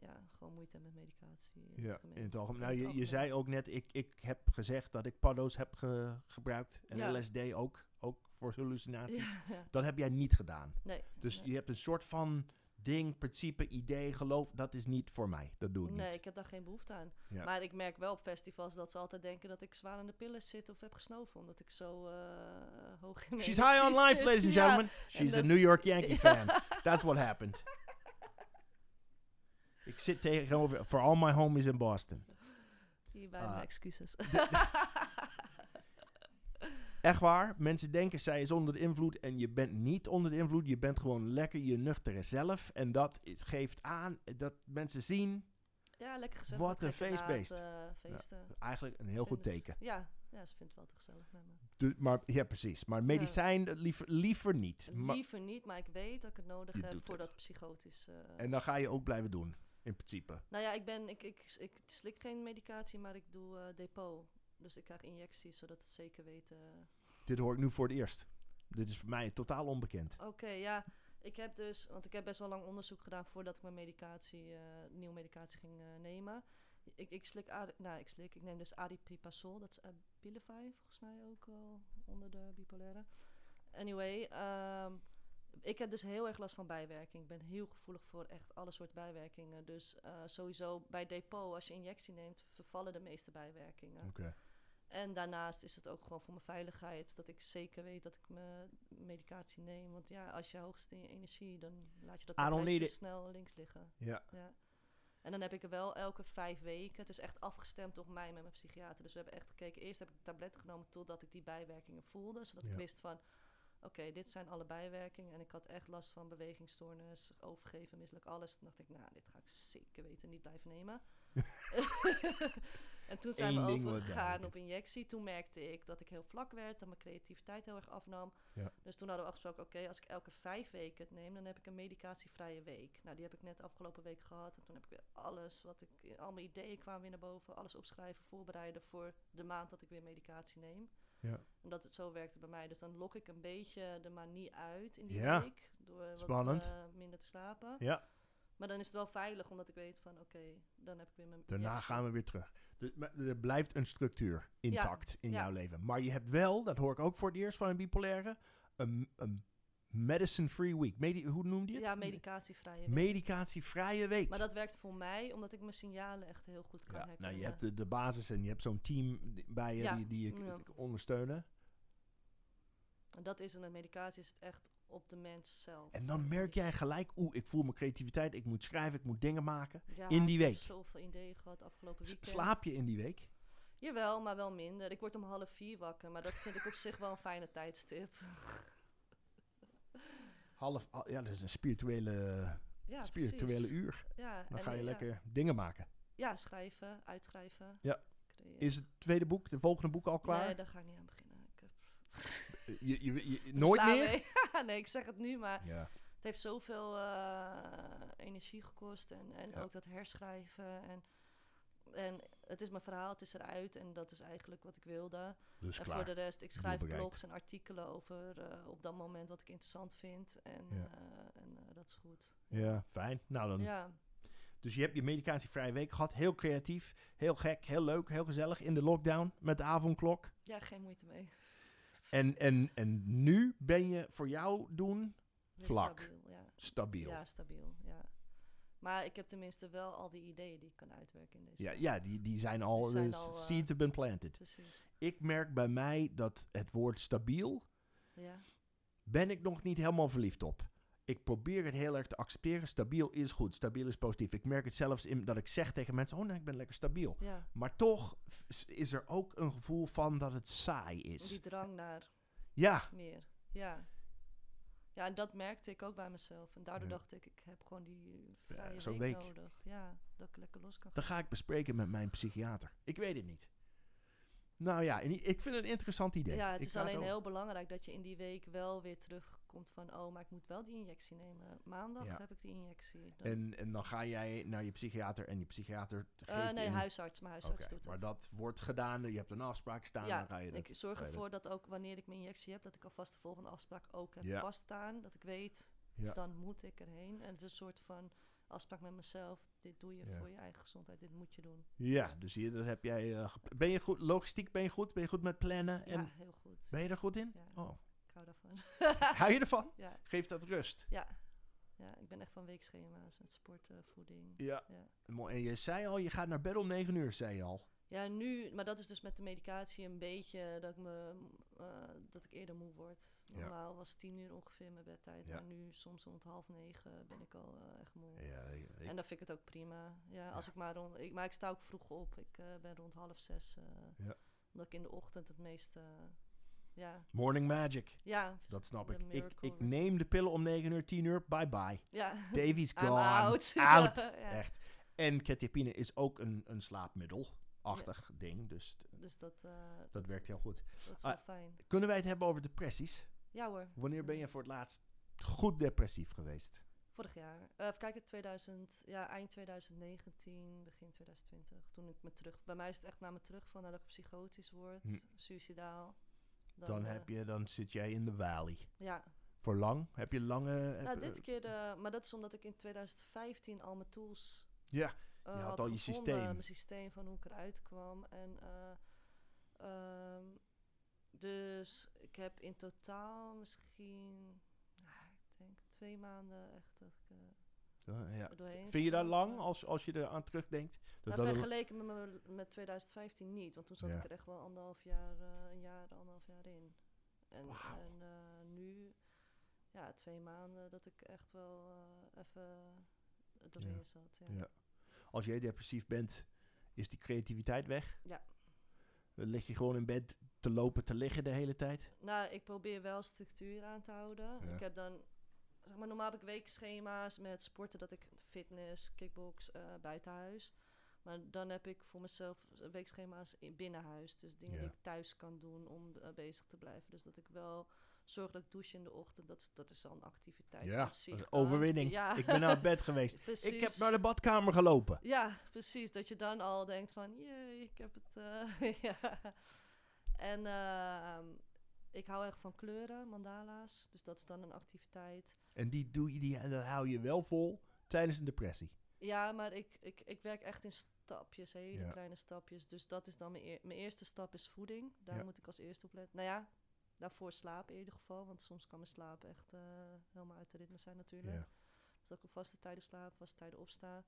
B: ja, gewoon moeite heb met medicatie. in het
A: Ja,
B: algemeen.
A: in het algemeen.
B: In
A: Nou,
B: het
A: je, je
B: algemeen.
A: zei ook net, ik, ik heb gezegd dat ik paddo's heb ge- gebruikt. En
B: Ja.
A: LSD ook, ook voor hallucinaties.
B: Ja,
A: Dat heb jij niet gedaan.
B: nee.
A: Dus
B: nee.
A: je hebt een soort van ding, principe, idee, geloof. Dat is niet voor mij. Dat doe ik
B: Nee,
A: niet.
B: ik heb daar geen behoefte aan.
A: Ja.
B: Maar ik merk wel op festivals dat ze altijd denken dat ik zwaar aan de pillen zit of heb gesnoven. Omdat ik zo eh, hoog in de
A: She's high on
B: energie
A: life,
B: zit.
A: ladies and
B: Ja.
A: gentlemen. She's a
B: dat-
A: New York Yankee
B: Ja.
A: fan. That's what happened. Ik zit tegenover, for all my homies in Boston.
B: Hierbij
A: Ah.
B: mijn excuses.
A: Echt waar, mensen denken zij is onder de invloed en je bent niet onder de invloed. Je bent gewoon lekker je nuchtere zelf. En dat is- geeft aan dat mensen zien
B: ja, lekker gezellig.
A: Wat
B: met
A: een
B: gekke naad,
A: feestbeest.
B: eh, feesten.
A: eigenlijk een heel goed
B: Vinden ze-
A: teken.
B: Ja, ja, ze vindt het wel te gezellig met me.
A: Dus, maar, ja, precies. Maar medicijn eh, liever, liever niet. Maar-
B: Liever niet, maar ik weet dat ik het nodig
A: Je
B: heb
A: doet
B: voor
A: het.
B: dat psychotisch. eh,
A: en dan ga je ook blijven doen, in principe.
B: Nou ja, ik, ben, ik, ik, ik slik geen medicatie, maar ik doe eh, depot. Dus ik krijg injecties, zodat het zeker eh, weten...
A: Dit hoor ik nu voor het eerst. Dit is voor mij totaal onbekend.
B: Oké, ja. Ik heb dus, want ik heb best wel lang onderzoek gedaan voordat ik mijn medicatie, eh, nieuwe medicatie ging eh, nemen. Ik, ik slik, Ari- nou ik slik, ik neem dus aripiprazol, dat is Abilify volgens mij ook wel onder de bipolaire. Anyway, ehm, ik heb dus heel erg last van bijwerking. Ik ben heel gevoelig voor echt alle soort bijwerkingen. Dus eh, sowieso bij depot, als je injectie neemt, vervallen de meeste bijwerkingen.
A: Oké.
B: En daarnaast is het ook gewoon voor mijn veiligheid dat ik zeker weet dat ik mijn medicatie neem. Want ja, als je hoog zit in je energie, dan laat je dat
A: I don't need
B: tabletje
A: it.
B: snel links liggen.
A: Ja.
B: Ja. En dan heb ik er wel elke vijf weken. Het is echt afgestemd op mij met mijn psychiater. Dus we hebben echt gekeken. Eerst heb ik tabletten genomen totdat ik die bijwerkingen voelde. Zodat
A: Ja.
B: ik wist van, oké, oké, dit zijn alle bijwerkingen. En ik had echt last van bewegingstoornis, overgeven, misselijk, alles. Toen dacht ik, nou, dit ga ik zeker weten niet blijven nemen. en toen zijn
C: Eén
B: we
C: ding wordt
B: overgegaan
C: duidelijk.
B: op injectie. Toen merkte ik dat ik heel vlak werd, dat mijn creativiteit heel erg afnam.
C: Ja.
B: Dus toen hadden we afgesproken, oké, als ik elke vijf weken het neem, dan heb ik een medicatievrije week. Nou, die heb ik net afgelopen week gehad. En toen heb ik weer alles, wat ik, al mijn ideeën kwamen weer naar boven. Alles opschrijven, voorbereiden voor de maand dat ik weer medicatie neem.
C: Ja.
B: En dat, zo werkt het bij mij. Dus dan lok ik een beetje de manie uit in die
A: Ja.
B: week. Door wat
A: Spannend.
B: eh, minder te slapen.
A: Ja.
B: Maar dan is het wel veilig, omdat ik weet van, oké, dan heb ik weer mijn...
A: Daarna
B: injectie.
A: gaan we weer terug. Dus, maar er blijft een structuur intact in
B: ja.
A: jouw leven. Maar je hebt wel, dat hoor ik ook voor het eerst van een bipolaire, een, een medicine-free week. Medi- hoe noemde je het?
B: Ja, medicatievrije week.
A: Medicatievrije week.
B: maar dat werkt voor mij, omdat ik mijn signalen echt heel goed kan
A: Ja,
B: herkennen.
A: nou, je hebt de, de basis en je hebt zo'n team die- bij je
B: Ja,
A: die, die je
B: ja.
A: k- ondersteunen.
B: En dat is het met medicatie, is het echt op de mens zelf.
A: En dan merk jij gelijk, oeh, ik voel mijn creativiteit, ik moet schrijven, ik moet dingen maken.
B: Ja,
A: in die
B: ik heb
A: week.
B: zoveel ideeën gehad afgelopen
A: S-
B: weekend.
A: Slaap je in die week?
B: Jawel, maar wel minder. Ik word om half vier wakker, maar dat vind ik op zich wel een fijne tijdstip.
A: Half, al- ja, dat is een spirituele,
B: Ja,
A: spirituele
B: precies.
A: uur.
B: Ja,
A: Dan
B: en
A: ga je
B: ja,
A: lekker dingen maken.
B: Ja, schrijven, uitschrijven.
A: Ja.
B: creëren.
A: Is het tweede boek, de volgende boek al klaar? Eh,
B: Nee, daar ga ik niet aan beginnen. Ik heb
A: Je, je, je- nooit
B: klaar
A: meer?
B: mee. nee, ik zeg het nu, maar
A: Ja.
B: het heeft zoveel eh, energie gekost. En, en
A: Ja.
B: ook dat herschrijven. En, en het is mijn verhaal, het is eruit. En dat is eigenlijk wat ik wilde.
A: Dus
B: en
A: klaar.
B: voor de rest, ik schrijf
A: bereikt.
B: blogs en artikelen over eh, op dat moment wat ik interessant vind. En,
A: Ja.
B: eh, en eh, dat is goed.
A: Ja, fijn. Nou, dan,
B: Ja,
A: Dus je hebt je medicatievrije week gehad. Heel creatief, heel gek, heel leuk, heel gezellig. In de lockdown met de avondklok.
B: ja, geen moeite mee.
A: En, en, en nu ben je voor jou doen
B: Weer
A: Vlak.
B: Stabiel, ja.
A: stabiel.
B: ja,
A: Ja,
B: stabiel. Ja. Maar ik heb tenminste wel al die ideeën die ik kan uitwerken in deze
A: ja,
B: tijd.
A: die, die zijn al,
B: Die zijn
A: eh,
B: al, eh,
A: seeds have been planted.
B: Precies.
A: Ik merk bij mij dat het woord stabiel,
B: Ja.
A: ben ik nog niet helemaal verliefd op. Ik probeer het heel erg te accepteren. Stabiel is goed, stabiel is positief. Ik merk het zelfs in dat ik zeg tegen mensen, oh nee, ik ben lekker stabiel.
B: ja,
A: Maar toch f- is er ook een gevoel van dat het saai
B: die
A: is.
B: drang naar
A: Ja,
B: meer. Ja. Ja, en dat merkte ik ook bij mezelf. En daardoor
A: Ja.
B: dacht ik, ik heb gewoon die vrije
A: zo'n
B: week,
A: week.
B: nodig. Ja, dat ik lekker los kan
A: Dan ga ik bespreken met mijn psychiater. Ik weet het niet. Nou ja, en i- ik vind het een interessant idee.
B: Ja, het
A: Ik
B: is
A: ga
B: alleen
A: over-
B: heel belangrijk dat je in die week wel weer terugkomt van... oh, maar ik moet wel die injectie nemen. Maandag
A: Ja.
B: heb ik die injectie. Dan-
A: En, en dan ga jij naar je psychiater en je psychiater
B: Eh,
A: geeft...
B: nee,
A: in-
B: huisarts. Mijn
A: Oké,
B: huisarts doet
A: maar
B: het.
A: dat wordt gedaan. Je hebt een afspraak staan,
B: ja,
A: dan ga je dat...
B: ik zorg
A: ga je
B: ervoor dat ook wanneer ik mijn injectie heb... dat ik alvast de volgende afspraak ook heb
A: Ja.
B: vaststaan. Dat ik weet,
A: Ja.
B: dan moet ik erheen. En het is een soort van afspraak met mezelf. Dit doe je
A: Ja.
B: voor je eigen gezondheid. Dit moet je doen.
A: Ja, dus hier dat heb jij... eh, gep- ben je goed, logistiek ben je goed? Ben je goed met plannen?
B: ja,
A: En
B: heel goed.
A: ben je er goed in?
B: Ja.
A: Oh,
B: Ik hou daarvan.
A: hou je ervan?
B: ja,
A: Geeft dat rust?
B: ja. ja, ik ben echt van weekschema's. Met sporten, voeding.
A: Ja.
B: Ja.
A: Mooi. En je zei al, je gaat naar bed om negen uur, zei je al.
B: Ja, nu, maar dat is dus met de medicatie een beetje dat ik, me, m, eh, dat ik eerder moe word.
A: Ja.
B: Normaal was tien uur ongeveer mijn bedtijd,
A: Ja.
B: maar nu soms rond half negen ben ik al eh, echt moe.
A: Ja, ik- ik-
B: En dan vind ik het ook prima. Ja, als ik maar rond, ik, maar ik sta ook vroeg op. Ik eh, ben rond half zes, eh,
A: Ja.
B: omdat ik in de ochtend het meeste, ja,
A: Morning magic.
B: ja,
A: Dat snap
B: The
A: ik. Ik,
B: miracle
A: ik
B: work-
A: neem de pillen om 9 uur, 10 uur. Bye bye.
B: ja,
A: Davy's
B: I'm
A: gone.
B: out.
A: Out.
B: Ja.
A: Echt. En ketipine is ook een, een slaapmiddelachtig ding. Dus t-
B: dus dat, eh,
A: dat werkt heel goed.
B: Dat is
A: Ah.
B: wel fijn.
A: Kunnen wij het hebben over depressies?
B: Ja hoor.
A: Wanneer ben
B: tuurlijk.
A: je voor het laatst goed depressief geweest?
B: Vorig jaar. Eh, even kijken, 2000, ja, eind 2019, begin 2020. Toen ik me terug... Bij mij is het echt na me terug van nadat ik psychotisch word,
A: Hm.
B: suicidaal.
A: Dan,
B: eh,
A: heb je, dan zit jij in de valley.
B: Ja,
A: Voor lang? Heb je lange...
B: nou,
A: heb-
B: dit keer... eh, maar dat is omdat ik in 2015 al mijn tools...
A: Ja,
B: eh,
A: had al
B: had
A: je
B: gevonden,
A: systeem.
B: Mijn systeem van hoe ik eruit kwam. En, eh, ehm, dus ik heb in totaal misschien... nou, ik denk twee maanden echt dat ik eh,
A: eh, ja.
B: er doorheen
A: Vind je dat
B: zat,
A: lang
B: eh.
A: als, als je er aan terugdenkt? Dat
B: Nou,
A: dat een-
B: vergeleken met, me- met 2015 niet, want toen zat
A: Ja.
B: ik er echt wel anderhalf jaar, eh, een jaar, anderhalf jaar in. En,
A: Wauw.
B: en eh, nu, ja, twee maanden dat ik echt wel eh, even doorheen zat. Ja.
A: Ja. als jij depressief bent, is die creativiteit weg.
B: Ja.
A: Dan lig je gewoon in bed te lopen, te liggen de hele tijd.
B: Nou, ik probeer wel structuur aan te houden.
A: Ja.
B: Ik heb dan, zeg maar, normaal heb ik weekschema's met sporten dat ik fitness, kickbox, eh, buitenhuis. Maar dan heb ik voor mezelf weekschema's in binnenhuis. Dus dingen die
A: Ja.
B: ik thuis kan doen om eh, bezig te blijven. Dus dat ik wel zorg dat ik douche in de ochtend. Dat, is- dat is al een activiteit.
A: ja,
B: aan
A: dat is
B: zich
A: een
B: dan.
A: overwinning.
B: Ja.
A: Ik ben naar bed geweest.
B: Precies.
A: Ik heb nou naar de badkamer gelopen.
B: Ja, precies. Dat je dan al denkt van, jee, ik heb het. eh, ja. En ehm, ik hou erg van kleuren, mandala's. Dus dat is dan een activiteit.
A: En die, doe je, die en dat hou je wel vol tijdens een depressie.
B: Ja, maar ik, ik, ik werk echt in stapjes, hele
A: Ja.
B: kleine stapjes. Dus dat is dan mijn, eer- mijn eerste stap is voeding. Daar
A: Ja.
B: moet ik als eerste op letten. Nou ja, daarvoor slaap in ieder geval. Want soms kan mijn slaap echt eh, helemaal uit de ritme zijn natuurlijk. Dus dat ik op vaste tijden slaap, vaste tijden opsta.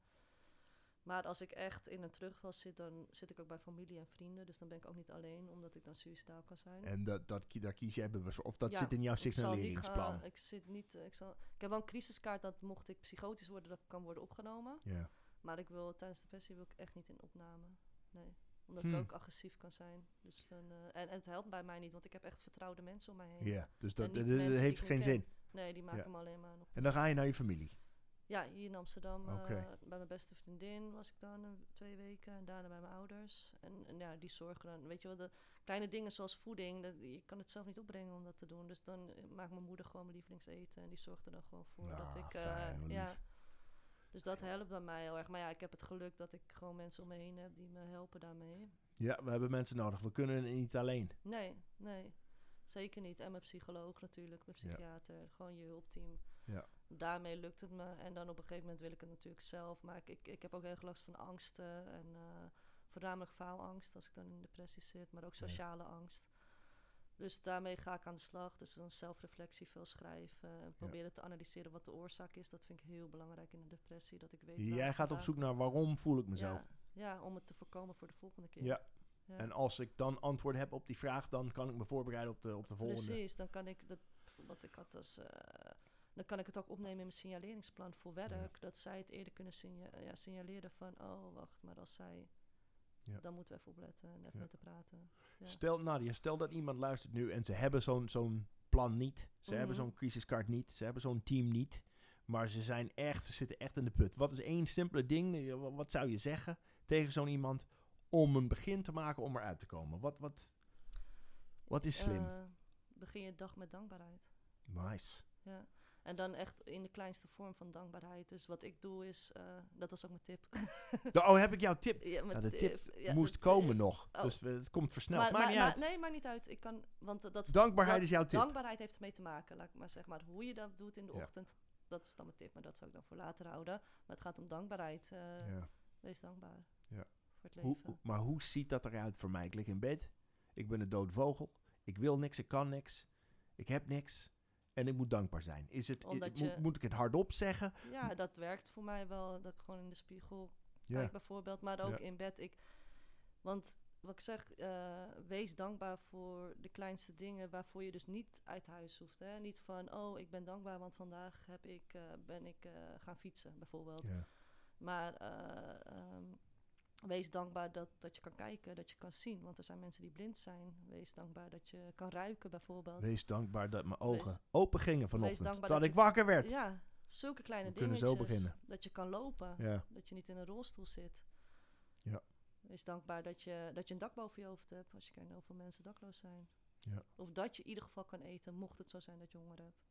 B: Maar als ik echt in een terugval zit, dan zit ik ook bij familie en vrienden. Dus dan ben ik ook niet alleen, omdat ik dan suicidaal kan zijn.
A: En dat, dat, ki- daar kies je hebben we. Of dat
B: Ja,
A: zit in jouw
B: ik zal niet
A: signaleringsplan.
B: gaan- ik zit niet. eh, Ik, zal, ik heb wel een crisiskaart dat mocht ik psychotisch worden, dat ik kan worden opgenomen.
A: Ja.
B: Maar ik wil tijdens de depressie wil ik echt niet in opname. Nee. Omdat
A: Hmm.
B: ik ook agressief kan zijn. Dus dan, eh, en, en het helpt bij mij niet, want ik heb echt vertrouwde mensen om mij heen.
A: ja, dus dat,
B: En niet
A: dat- dat
B: mensen die
A: heeft
B: ik
A: geen
B: ken.
A: zin.
B: Nee, die maken
A: Ja.
B: me alleen maar nog.
A: En dan ga je naar je familie.
B: Ja, hier in Amsterdam. eh,
A: Oké.
B: bij mijn beste vriendin was ik dan een- twee weken. En daarna bij mijn ouders. En, en ja, die zorgen dan. Weet je wel, de kleine dingen zoals voeding. Dat, je kan het zelf niet opbrengen om dat te doen. Dus dan eh, maakt mijn moeder gewoon mijn lievelingseten. En die zorgt er dan gewoon voor
A: Ah,
B: dat ik... eh,
A: fijn, wat
B: ja.
A: lief.
B: Dus dat helpt bij mij heel erg. Maar ja, ik heb het geluk dat ik gewoon mensen om me heen heb die me helpen daarmee.
A: Ja, we hebben mensen nodig. We kunnen het niet alleen.
B: Nee, nee. Zeker niet. En mijn psycholoog natuurlijk, mijn
A: Ja.
B: psychiater, gewoon je hulpteam.
A: Ja.
B: Daarmee lukt het me. En dan op een gegeven moment wil ik het natuurlijk zelf. Maar ik, ik, ik heb ook heel erg last van angsten. En eh, voornamelijk faalangst als ik dan in depressie zit. Maar ook
A: Ja.
B: sociale angst. Dus daarmee ga ik aan de slag. Dus dan zelfreflectie, veel schrijven. En proberen te analyseren wat de oorzaak is. Dat vind ik heel belangrijk in een depressie. Dat ik weet waar
A: Jij
B: het
A: gaat op
B: vandaan-
A: zoek naar waarom voel ik me zo.
B: Ja, ja, om het te voorkomen voor de volgende keer.
A: Ja.
B: Ja.
A: En als ik dan antwoord heb op die vraag, dan kan ik me voorbereiden op de, op de volgende.
B: Precies, dan kan ik dat bijvoorbeeld ik had als eh, dan kan ik het ook opnemen in mijn signaleringsplan voor werk dat zij het eerder kunnen signa- ja, signaleren van oh wacht, maar als zij
A: Ja.
B: dan moeten we even opletten en even
A: Ja.
B: met haar praten. Ja.
A: Stel, Nadia, stel dat iemand luistert nu en ze hebben zo'n zo'n plan niet. Ze hebben
B: Mhm.
A: zo'n crisiskaart niet. Ze hebben zo'n team niet. Maar ze zijn echt, ze zitten echt in de put. Wat is één simpele ding? eh, wa- Wat zou je zeggen tegen zo'n iemand om een begin te maken om eruit te komen? Wat, wat, wat is slim?
B: Eh, begin je dag met dankbaarheid.
A: nice.
B: Ja. En dan echt in de kleinste vorm van dankbaarheid. Dus wat ik doe is, eh, dat was ook mijn tip.
A: Da- Oh, heb ik jouw tip?
B: ja, mijn
A: Nou, de tip
B: ja,
A: Moest
B: de tip.
A: komen nog.
B: Oh.
A: Dus we- het komt versneld.
B: Maar,
A: Maakt
B: maar-
A: niet
B: maar-
A: uit.
B: nee, maar niet uit. Ik kan, want dat- dat,
A: Dankbaarheid
B: dat-
A: is jouw tip.
B: Dankbaarheid heeft ermee te maken, laat ik maar zeggen. Maar hoe je dat doet in de
A: Ja.
B: ochtend, dat is dan mijn tip. Maar dat zou ik dan voor later houden. Maar het gaat om dankbaarheid. eh,
A: Ja.
B: Wees dankbaar
A: Ja.
B: voor het
A: Hoe,
B: leven.
A: hoe- maar hoe ziet dat eruit voor mij? Ik lig in bed, ik ben een dood vogel, ik wil niks, ik kan niks, ik heb niks en ik moet dankbaar zijn. Is het, i-
B: Omdat
A: moet,
B: je-
A: moet ik het hardop zeggen?
B: Ja, dat werkt voor mij wel. Dat ik gewoon in de spiegel kijk bijvoorbeeld. Maar ook in bed. Ik, want wat ik zeg, eh, wees dankbaar voor de kleinste dingen waarvoor je dus niet uit huis hoeft. Hè? Niet van, oh, ik ben dankbaar, want vandaag heb ik, eh, ben ik eh, gaan fietsen bijvoorbeeld. Maar eh, ehm, wees dankbaar dat, dat je kan kijken, dat je kan zien. Want er zijn mensen die blind zijn. Wees dankbaar dat je kan ruiken bijvoorbeeld.
A: Wees dankbaar dat mijn ogen
B: Wees-
A: open gingen vanochtend, dat,
B: dankbaar dat
A: ik
B: je-
A: wakker werd.
B: ja, zulke kleine
A: We
B: dingen.
A: kunnen zo
B: Dat je kan lopen,
A: Ja.
B: dat je niet in een rolstoel zit.
A: Ja.
B: Wees dankbaar dat je, dat je een dak boven je hoofd hebt. Als je kijkt naar hoeveel mensen dakloos zijn.
A: Ja.
B: Of dat je in ieder geval kan eten, mocht het zo zijn dat je honger hebt.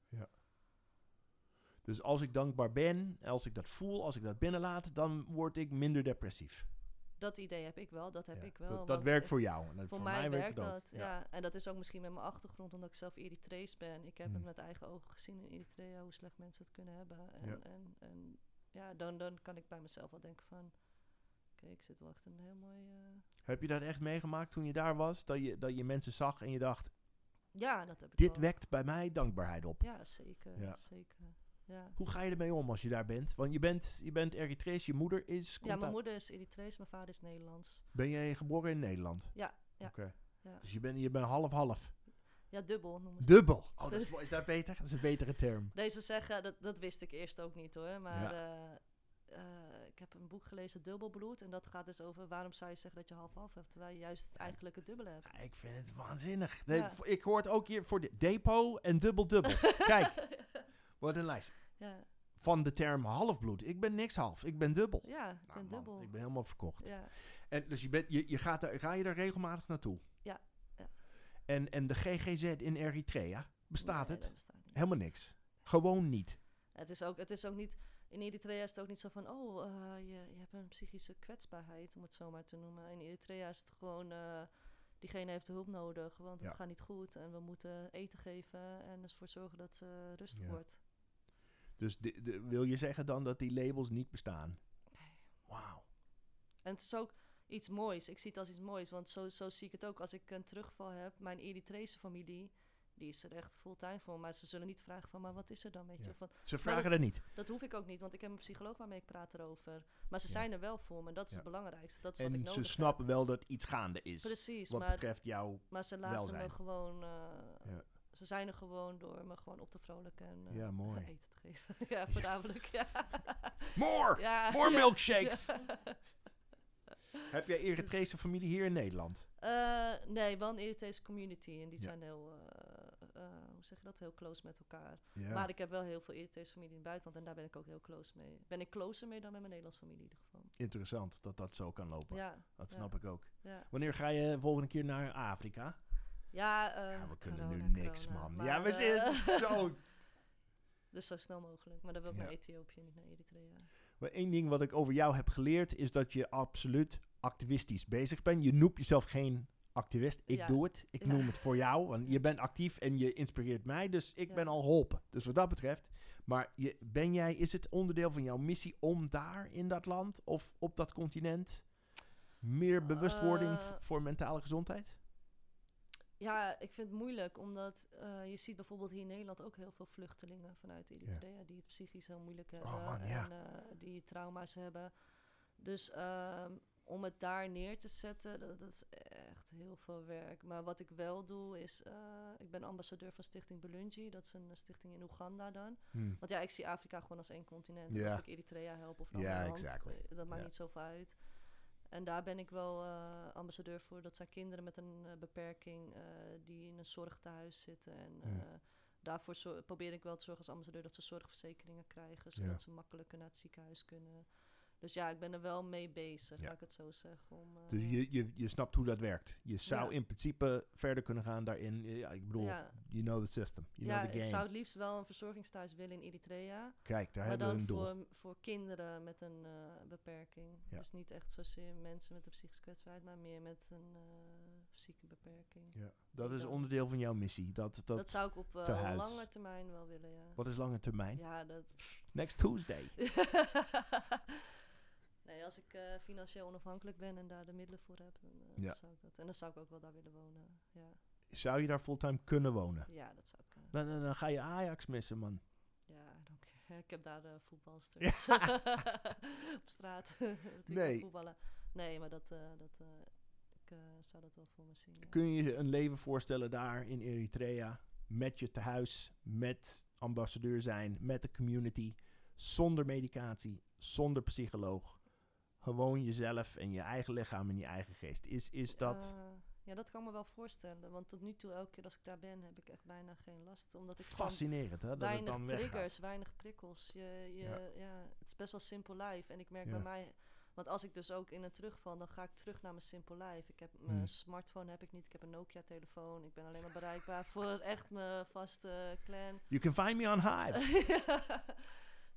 A: Dus als ik dankbaar ben, als ik dat voel, als ik dat binnenlaat, dan word ik minder depressief.
B: Dat idee heb ik wel, dat heb
A: Ja,
B: ik wel.
A: dat dat
B: want
A: werkt
B: ik-
A: voor jou. En dat-
B: Voor, mij, werkt
A: het ook.
B: dat, ja. En dat is ook misschien met mijn achtergrond, omdat ik zelf Eritrees ben. Ik heb het
A: Hmm.
B: met eigen ogen gezien in Eritrea, hoe slecht mensen het kunnen hebben. En
A: Ja.
B: ja, en, en, ja dan, dan kan ik bij mezelf wel denken van... Oké, ik zit wel echt in een heel mooi... eh,
A: Heb je dat echt meegemaakt toen je daar was? Dat je, dat je mensen zag en je dacht,
B: Ja, dat heb ik
A: dit
B: wel.
A: wekt bij mij dankbaarheid op.
B: Ja, zeker.
A: Ja.
B: zeker. Ja.
A: Hoe ga je ermee om als je daar bent? Want je bent, je bent Eritrees, je moeder is... komt
B: ja, mijn
A: uit-
B: moeder is Eritrees, mijn vader is Nederlands.
A: Ben jij geboren in Nederland?
B: Ja, ja.
A: Oké.
B: Ja.
A: Dus je bent je bent half-half.
B: Ja, dubbel noemen ze
A: Dubbel. Oh, dat is, mooi. is dat beter? Dat is een betere term.
B: Deze zeggen, dat, dat wist ik eerst ook niet hoor. Maar eh, eh, ik heb een boek gelezen, Dubbelbloed. En dat gaat dus over waarom zou je zeggen dat je half-half hebt, terwijl je juist eigenlijk het dubbele hebt.
A: Ja, ik vind het waanzinnig. Nee,
B: Ja.
A: v- Ik hoor het ook hier voor de depot en dubbel-dubbel. Kijk, wat een lijst.
B: Ja,
A: Van de term halfbloed. Ik ben niks half, ik ben dubbel.
B: ja ik
A: Nou,
B: ben
A: man,
B: dubbel.
A: ik ben helemaal verkocht.
B: Ja,
A: En dus je bent, je, je gaat daar, ga je daar regelmatig naartoe?
B: Ja, ja.
A: En, en de GGZ in Eritrea, bestaat
B: Nee,
A: het?
B: dat bestaat niet.
A: Helemaal niks. Gewoon niet.
B: Het is ook, het is ook niet, in Eritrea is het ook niet zo van, oh, eh, je, je hebt een psychische kwetsbaarheid, om het zo maar te noemen. In Eritrea is het gewoon, eh, diegene heeft hulp nodig, want het
A: Ja.
B: gaat niet goed. En we moeten eten geven en ervoor zorgen dat ze rustig
A: Ja.
B: wordt.
A: Dus de- de- wil je zeggen dan dat die labels niet bestaan?
B: Nee.
A: Wauw.
B: En het is ook iets moois. Ik zie het als iets moois, want zo, zo zie ik het ook. Als ik een terugval heb, mijn Eritrese familie, die is er echt fulltime voor. Maar ze zullen niet vragen van, maar wat is er dan, weet
A: Ja.
B: je? Van,
A: Ze vragen er niet.
B: dat hoef ik ook niet, want ik heb een psycholoog waarmee ik praat erover. Maar ze
A: Ja.
B: zijn er wel voor me, en dat is
A: Ja.
B: het belangrijkste. Dat is wat ik
A: En
B: nodig
A: ze
B: heb.
A: snappen wel dat iets gaande is.
B: Precies,
A: wat
B: maar,
A: betreft jou.
B: maar ze laten
A: welzijn.
B: me gewoon... eh,
A: Ja.
B: Ze zijn er gewoon door me gewoon op te vrolijken en eh,
A: Ja, mooi.
B: eten te geven. ja, voornamelijk, ja.
A: More!
B: ja.
A: More
B: ja.
A: milkshakes!
B: Ja. Dus
A: Heb jij Eritrese familie hier in Nederland?
B: Eh, nee, wel een Eritrese community. En die
A: Ja.
B: zijn heel, eh, eh, hoe zeg je dat, heel close met elkaar.
A: Ja.
B: Maar ik heb wel heel veel Eritrese familie in het buitenland. En daar ben ik ook heel close mee. Ben ik closer mee dan met mijn Nederlandse familie in ieder geval.
A: Interessant dat dat zo kan lopen.
B: Ja,
A: dat
B: ja.
A: snap ik ook.
B: ja.
A: Wanneer ga je volgende keer naar Afrika?
B: Ja, eh,
A: ja, we kunnen
B: corona,
A: nu niks,
B: corona.
A: man.
B: Maar,
A: ja, maar het
B: eh,
A: is zo...
B: Dus zo snel mogelijk. Maar dan wil ik naar
A: Ja.
B: Ethiopië, niet naar Eritrea.
A: Maar één ding wat ik over jou heb geleerd is dat je absoluut activistisch bezig bent. Je noemt jezelf geen activist. Ik
B: Ja.
A: doe het. Ik
B: Ja.
A: noem het voor jou. Want je bent actief en je inspireert mij. Dus ik
B: Ja.
A: ben al geholpen. Dus wat dat betreft. Maar je, ben jij, is het onderdeel van jouw missie om daar in dat land of op dat continent meer bewustwording v-
B: Eh.
A: voor mentale gezondheid?
B: Ja, ik vind het moeilijk, omdat eh, je ziet bijvoorbeeld hier in Nederland ook heel veel vluchtelingen vanuit Eritrea die het psychisch heel moeilijk hebben
A: Oh, man, ja.
B: en eh, die trauma's hebben. Dus ehm, om het daar neer te zetten, dat, dat is echt heel veel werk. Maar wat ik wel doe is, eh, ik ben ambassadeur van Stichting Belungi, dat is een eh, stichting in Oeganda dan. Want ja, ik zie Afrika gewoon als één continent. En
A: Hmm. Ja.
B: Of ik Eritrea help of een
A: Ja,
B: ander land,
A: exactly.
B: eh, dat maakt
A: Ja.
B: niet zoveel uit. En daar ben ik wel eh, ambassadeur voor. Dat zijn kinderen met een eh, beperking eh, die in een zorgtehuis zitten. En
A: Hmm.
B: eh, daarvoor zo- probeer ik wel te zorgen als ambassadeur dat ze zorgverzekeringen krijgen.
A: Ja.
B: Zodat ze makkelijker naar het ziekenhuis kunnen. Dus ja, ik ben er wel mee bezig,
A: Ja.
B: laat ik het zo zeggen. Om, eh,
A: Dus je, je, je snapt hoe dat werkt. Je zou
B: Ja.
A: in principe verder kunnen gaan daarin. Ja, ik bedoel,
B: ja,
A: you know the system. You
B: ja
A: know the
B: ik
A: game.
B: zou het liefst wel een verzorgingstehuis willen in Eritrea.
A: Kijk, daar
B: maar
A: hebben we
B: dan
A: een doel.
B: voor, voor kinderen met een eh, beperking.
A: Ja.
B: Dus niet echt zozeer mensen met een psychische kwetsbaarheid, maar meer met een eh, fysieke beperking.
A: Ja, dat is
B: Ja.
A: onderdeel van jouw missie. Dat, dat,
B: Dat, zou ik op eh,
A: tehuis.
B: lange termijn wel willen, ja.
A: Wat is lange termijn?
B: Ja, dat...
A: Next Tuesday.
B: nee, als ik eh, financieel onafhankelijk ben en daar de middelen voor heb, dan eh,
A: Ja.
B: zou ik dat... En dan zou ik ook wel daar willen wonen, ja.
A: Zou je daar fulltime kunnen wonen?
B: Ja, dat zou ik kunnen.
A: Dan, dan, dan ga je Ajax missen, man.
B: Ja, I don't care. ik heb daar de voetbalsters op straat. Die
A: Nee.
B: nee. voetballen. Nee, maar dat, eh, dat, eh, ik eh, zou dat wel voor me zien. ja.
A: Kun je je een leven voorstellen daar in Eritrea? Met je tehuis, met ambassadeur zijn, met de community. Zonder medicatie, zonder psycholoog. Gewoon jezelf en je eigen lichaam en je eigen geest. Is, is dat...
B: Eh, ja, dat kan ik me wel voorstellen. Want tot nu toe, elke keer als ik daar ben, heb ik echt bijna geen last. Omdat ik van
A: Fascinerend, hè? Dat het
B: weinig
A: dan
B: triggers,
A: weggaat.
B: weinig prikkels. Je, je,
A: Ja.
B: ja. het is best wel simpel life. En ik merk
A: Ja.
B: bij mij, want als ik dus ook in een terugval, dan ga ik terug naar mijn simpel life. Ik heb mijn
A: Hmm.
B: smartphone heb ik niet. Ik heb een Nokia telefoon. Ik ben alleen maar bereikbaar voor echt mijn vaste clan.
A: You can find me on Hives.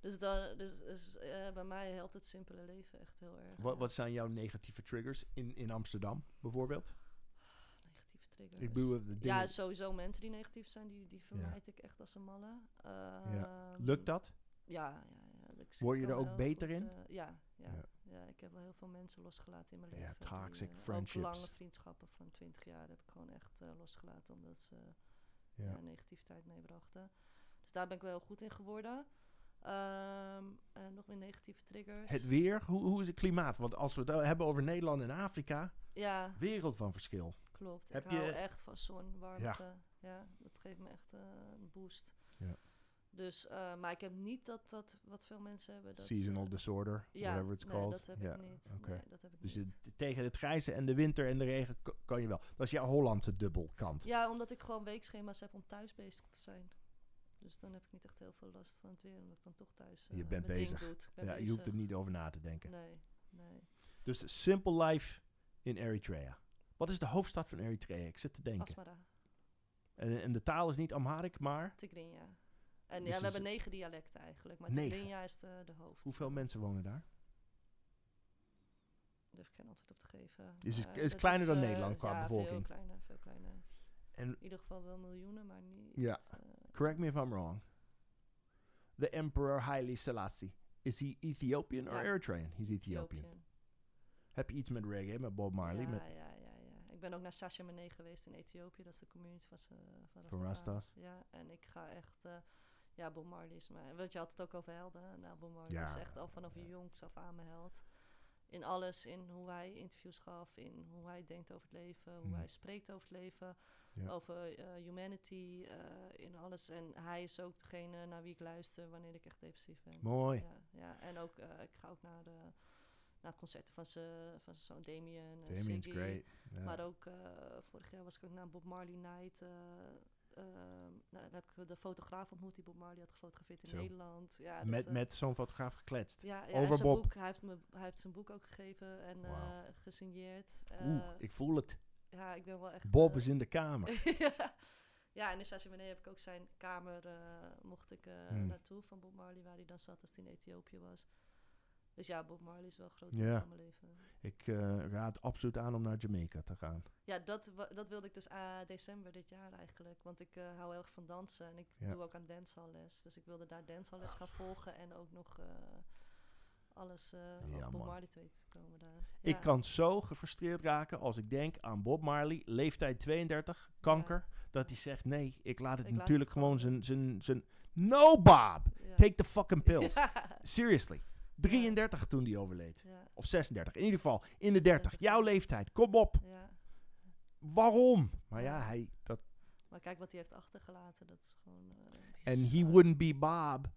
B: dus dan, dus, dus, eh, bij mij helpt het simpele leven echt heel erg.
A: wat,
B: ja.
A: wat zijn jouw negatieve triggers in, in Amsterdam, bijvoorbeeld?
B: Negatieve triggers.
A: Ik bedoel, de
B: ja,
A: dingen-
B: sowieso mensen die negatief zijn, die, die vermijd ik echt als een malle. Ehm,
A: Lukt dat?
B: Ja, ja, ja. Ik zie-
A: Word je
B: kan
A: er ook
B: heel
A: beter in?
B: eh, ja, ja,
A: Ja.
B: ja. ik heb wel heel veel mensen losgelaten in mijn
A: Ja,
B: leven. die,
A: toxic
B: eh,
A: friendships.
B: Ook lange vriendschappen van 20 jaar heb ik gewoon echt eh, losgelaten, omdat ze
A: Ja.
B: ja, negativiteit meebrachten. Dus daar ben ik wel heel goed in geworden. Ehm, en nog meer negatieve triggers.
A: Het weer, hoe, hoe is het klimaat? Want als we het o- hebben over Nederland en Afrika,
B: ja,
A: wereld van verschil.
B: Klopt.
A: Heb
B: ik hou
A: je-
B: echt van zon, warmte. Ja. dat geeft me echt eh, een boost.
A: Ja.
B: Dus, eh, maar ik heb niet dat, dat wat veel mensen hebben. Dat ze-
A: Seasonal disorder,
B: ja,
A: whatever it's
B: nee,
A: called.
B: dat heb
A: ja.
B: ik niet.
A: oké.
B: Nee, dat heb ik
A: Dus
B: niet.
A: je- tegen het grijze en de winter en de regen ko- kan je wel. Dat is jouw Hollandse dubbelkant.
B: Ja, omdat ik gewoon weekschema's heb om thuis bezig te zijn. Dus dan heb ik niet echt heel veel last van het weer, omdat ik dan toch thuis eh,
A: Je bent
B: mijn
A: bezig.
B: ding doet. Ik ben
A: Ja, je hoeft er
B: bezig.
A: niet over na te denken.
B: Nee, nee.
A: Dus Simple Life in Eritrea. Wat is de hoofdstad van Eritrea? Ik zit te denken.
B: Asmara,
A: En, en de taal is niet Amharic, maar
B: Tigrinya. En
A: Dus
B: ja,
A: is
B: we hebben
A: het-
B: negen dialecten eigenlijk, maar
A: Negen?
B: Tigrinya is de, de hoofd.
A: hoeveel mensen wonen daar?
B: Daar durf ik geen antwoord op te geven.
A: Is Dus het-
B: maar
A: is het
B: dat
A: kleiner dan
B: eh,
A: Nederland qua
B: ja,
A: bevolking?
B: veel kleiner, veel kleiner.
A: En
B: In ieder geval wel miljoenen, maar niet...
A: Ja.
B: eh,
A: correct me if I'm wrong. The Emperor Haile Selassie. Is he Ethiopian or
B: Ja.
A: Eritrean? He's Ethiopian. Heb je iets met reggae, met Bob Marley,
B: ja,
A: met
B: ja, ja, ja. Ik ben ook naar Sasha Mene geweest in Ethiopië. Dat is de community van, ze- van
A: Van
B: Rastafaris.
A: Rasta's.
B: Ja, en ik ga echt... eh, ja, Bob Marley is mijn... Want je had het ook over helden. hè? Nou, Bob Marley
A: Ja,
B: is echt al vanaf
A: ja.
B: jongs af aan mijn held. In alles, in hoe hij interviews gaf, in hoe hij denkt over het leven, hoe
A: Mhm.
B: hij spreekt over het leven,
A: Ja.
B: over eh, humanity, eh, in alles. En hij is ook degene naar wie ik luister wanneer ik echt depressief ben.
A: Mooi.
B: Ja, ja, en ook, eh, ik ga ook naar de naar concerten van zijn van zoon Damien. en
A: Damien's
B: Ziggy.
A: great. Ja.
B: Maar ook, eh, vorig jaar was ik ook naar Bob Marley Night. eh ehm, nou, heb ik de fotograaf ontmoet die Bob Marley had gefotografeerd in
A: Zo.
B: Nederland. Ja, dus,
A: met
B: eh,
A: met zo'n fotograaf gekletst.
B: ja, ja,
A: over
B: en zijn
A: Bob.
B: Boek, hij, heeft me, hij heeft zijn boek ook gegeven en
A: Wauw.
B: eh, gesigneerd.
A: Oeh,
B: Eh,
A: ik voel het.
B: ja, ik ben wel echt...
A: Bob
B: eh,
A: is in de kamer.
B: ja. ja, en in Sassimene heb ik ook zijn kamer, eh, mocht ik eh,
A: Hmm.
B: naartoe van Bob Marley, waar hij dan zat als hij in Ethiopië was. Dus ja, Bob Marley is wel een groot deel
A: Ja.
B: van mijn leven.
A: Ik eh, raad absoluut aan om naar Jamaica te gaan.
B: Ja, dat, wa- dat wilde ik dus ah, december dit jaar eigenlijk. Want ik eh, hou heel erg van dansen en ik
A: Ja.
B: doe ook aan dancehalles. Dus ik wilde daar dancehalles gaan volgen en ook nog eh, alles eh over Bob
A: man.
B: Marley te weten komen daar.
A: Ik
B: Ja.
A: kan zo gefrustreerd raken als ik denk aan Bob Marley, leeftijd 32, kanker. Dat hij zegt, nee, ik laat het
B: Ik laat
A: natuurlijk
B: het
A: gewoon
B: gewoon.
A: zijn, zijn, zijn... No, Bob!
B: Ja.
A: Take the fucking pills.
B: Ja.
A: Seriously. 33 toen hij overleed.
B: Ja.
A: Of 36. In ieder geval, in de 30. Jouw leeftijd, kom op.
B: ja.
A: Waarom? Maar ja,
B: Ja.
A: hij... Dat,
B: Maar kijk wat hij heeft achtergelaten, dat is gewoon... eh,
A: and he
B: bizar.
A: wouldn't be Bob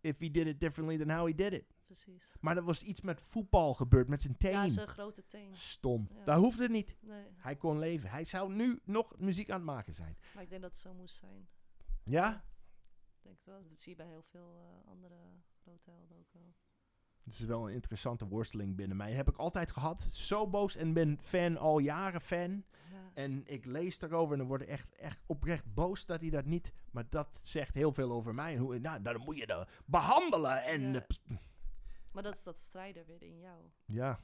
A: if he did it differently than how he did it.
B: Precies.
A: Maar er was iets met voetbal gebeurd, met zijn
B: Ja,
A: teen.
B: zijn grote teen.
A: Stom.
B: Ja.
A: Daar hoefde het niet.
B: Nee,
A: Hij kon leven. Hij zou nu nog muziek aan het maken zijn.
B: maar ik denk dat het zo moest zijn.
A: Ja?
B: Ik Denk het wel. Dat zie je bij heel veel eh, andere grote helden ook wel.
A: Het is wel een interessante worsteling binnen mij. Heb ik altijd gehad. Zo boos en ben fan al jaren fan.
B: Ja,
A: En ik lees daarover en dan word ik echt, echt oprecht boos dat hij dat niet. Maar dat zegt heel veel over mij. En Hoe, nou, dan moet je dat behandelen. En
B: Ja.
A: eh, pst.
B: maar dat is dat strijder weer in jou.
A: ja.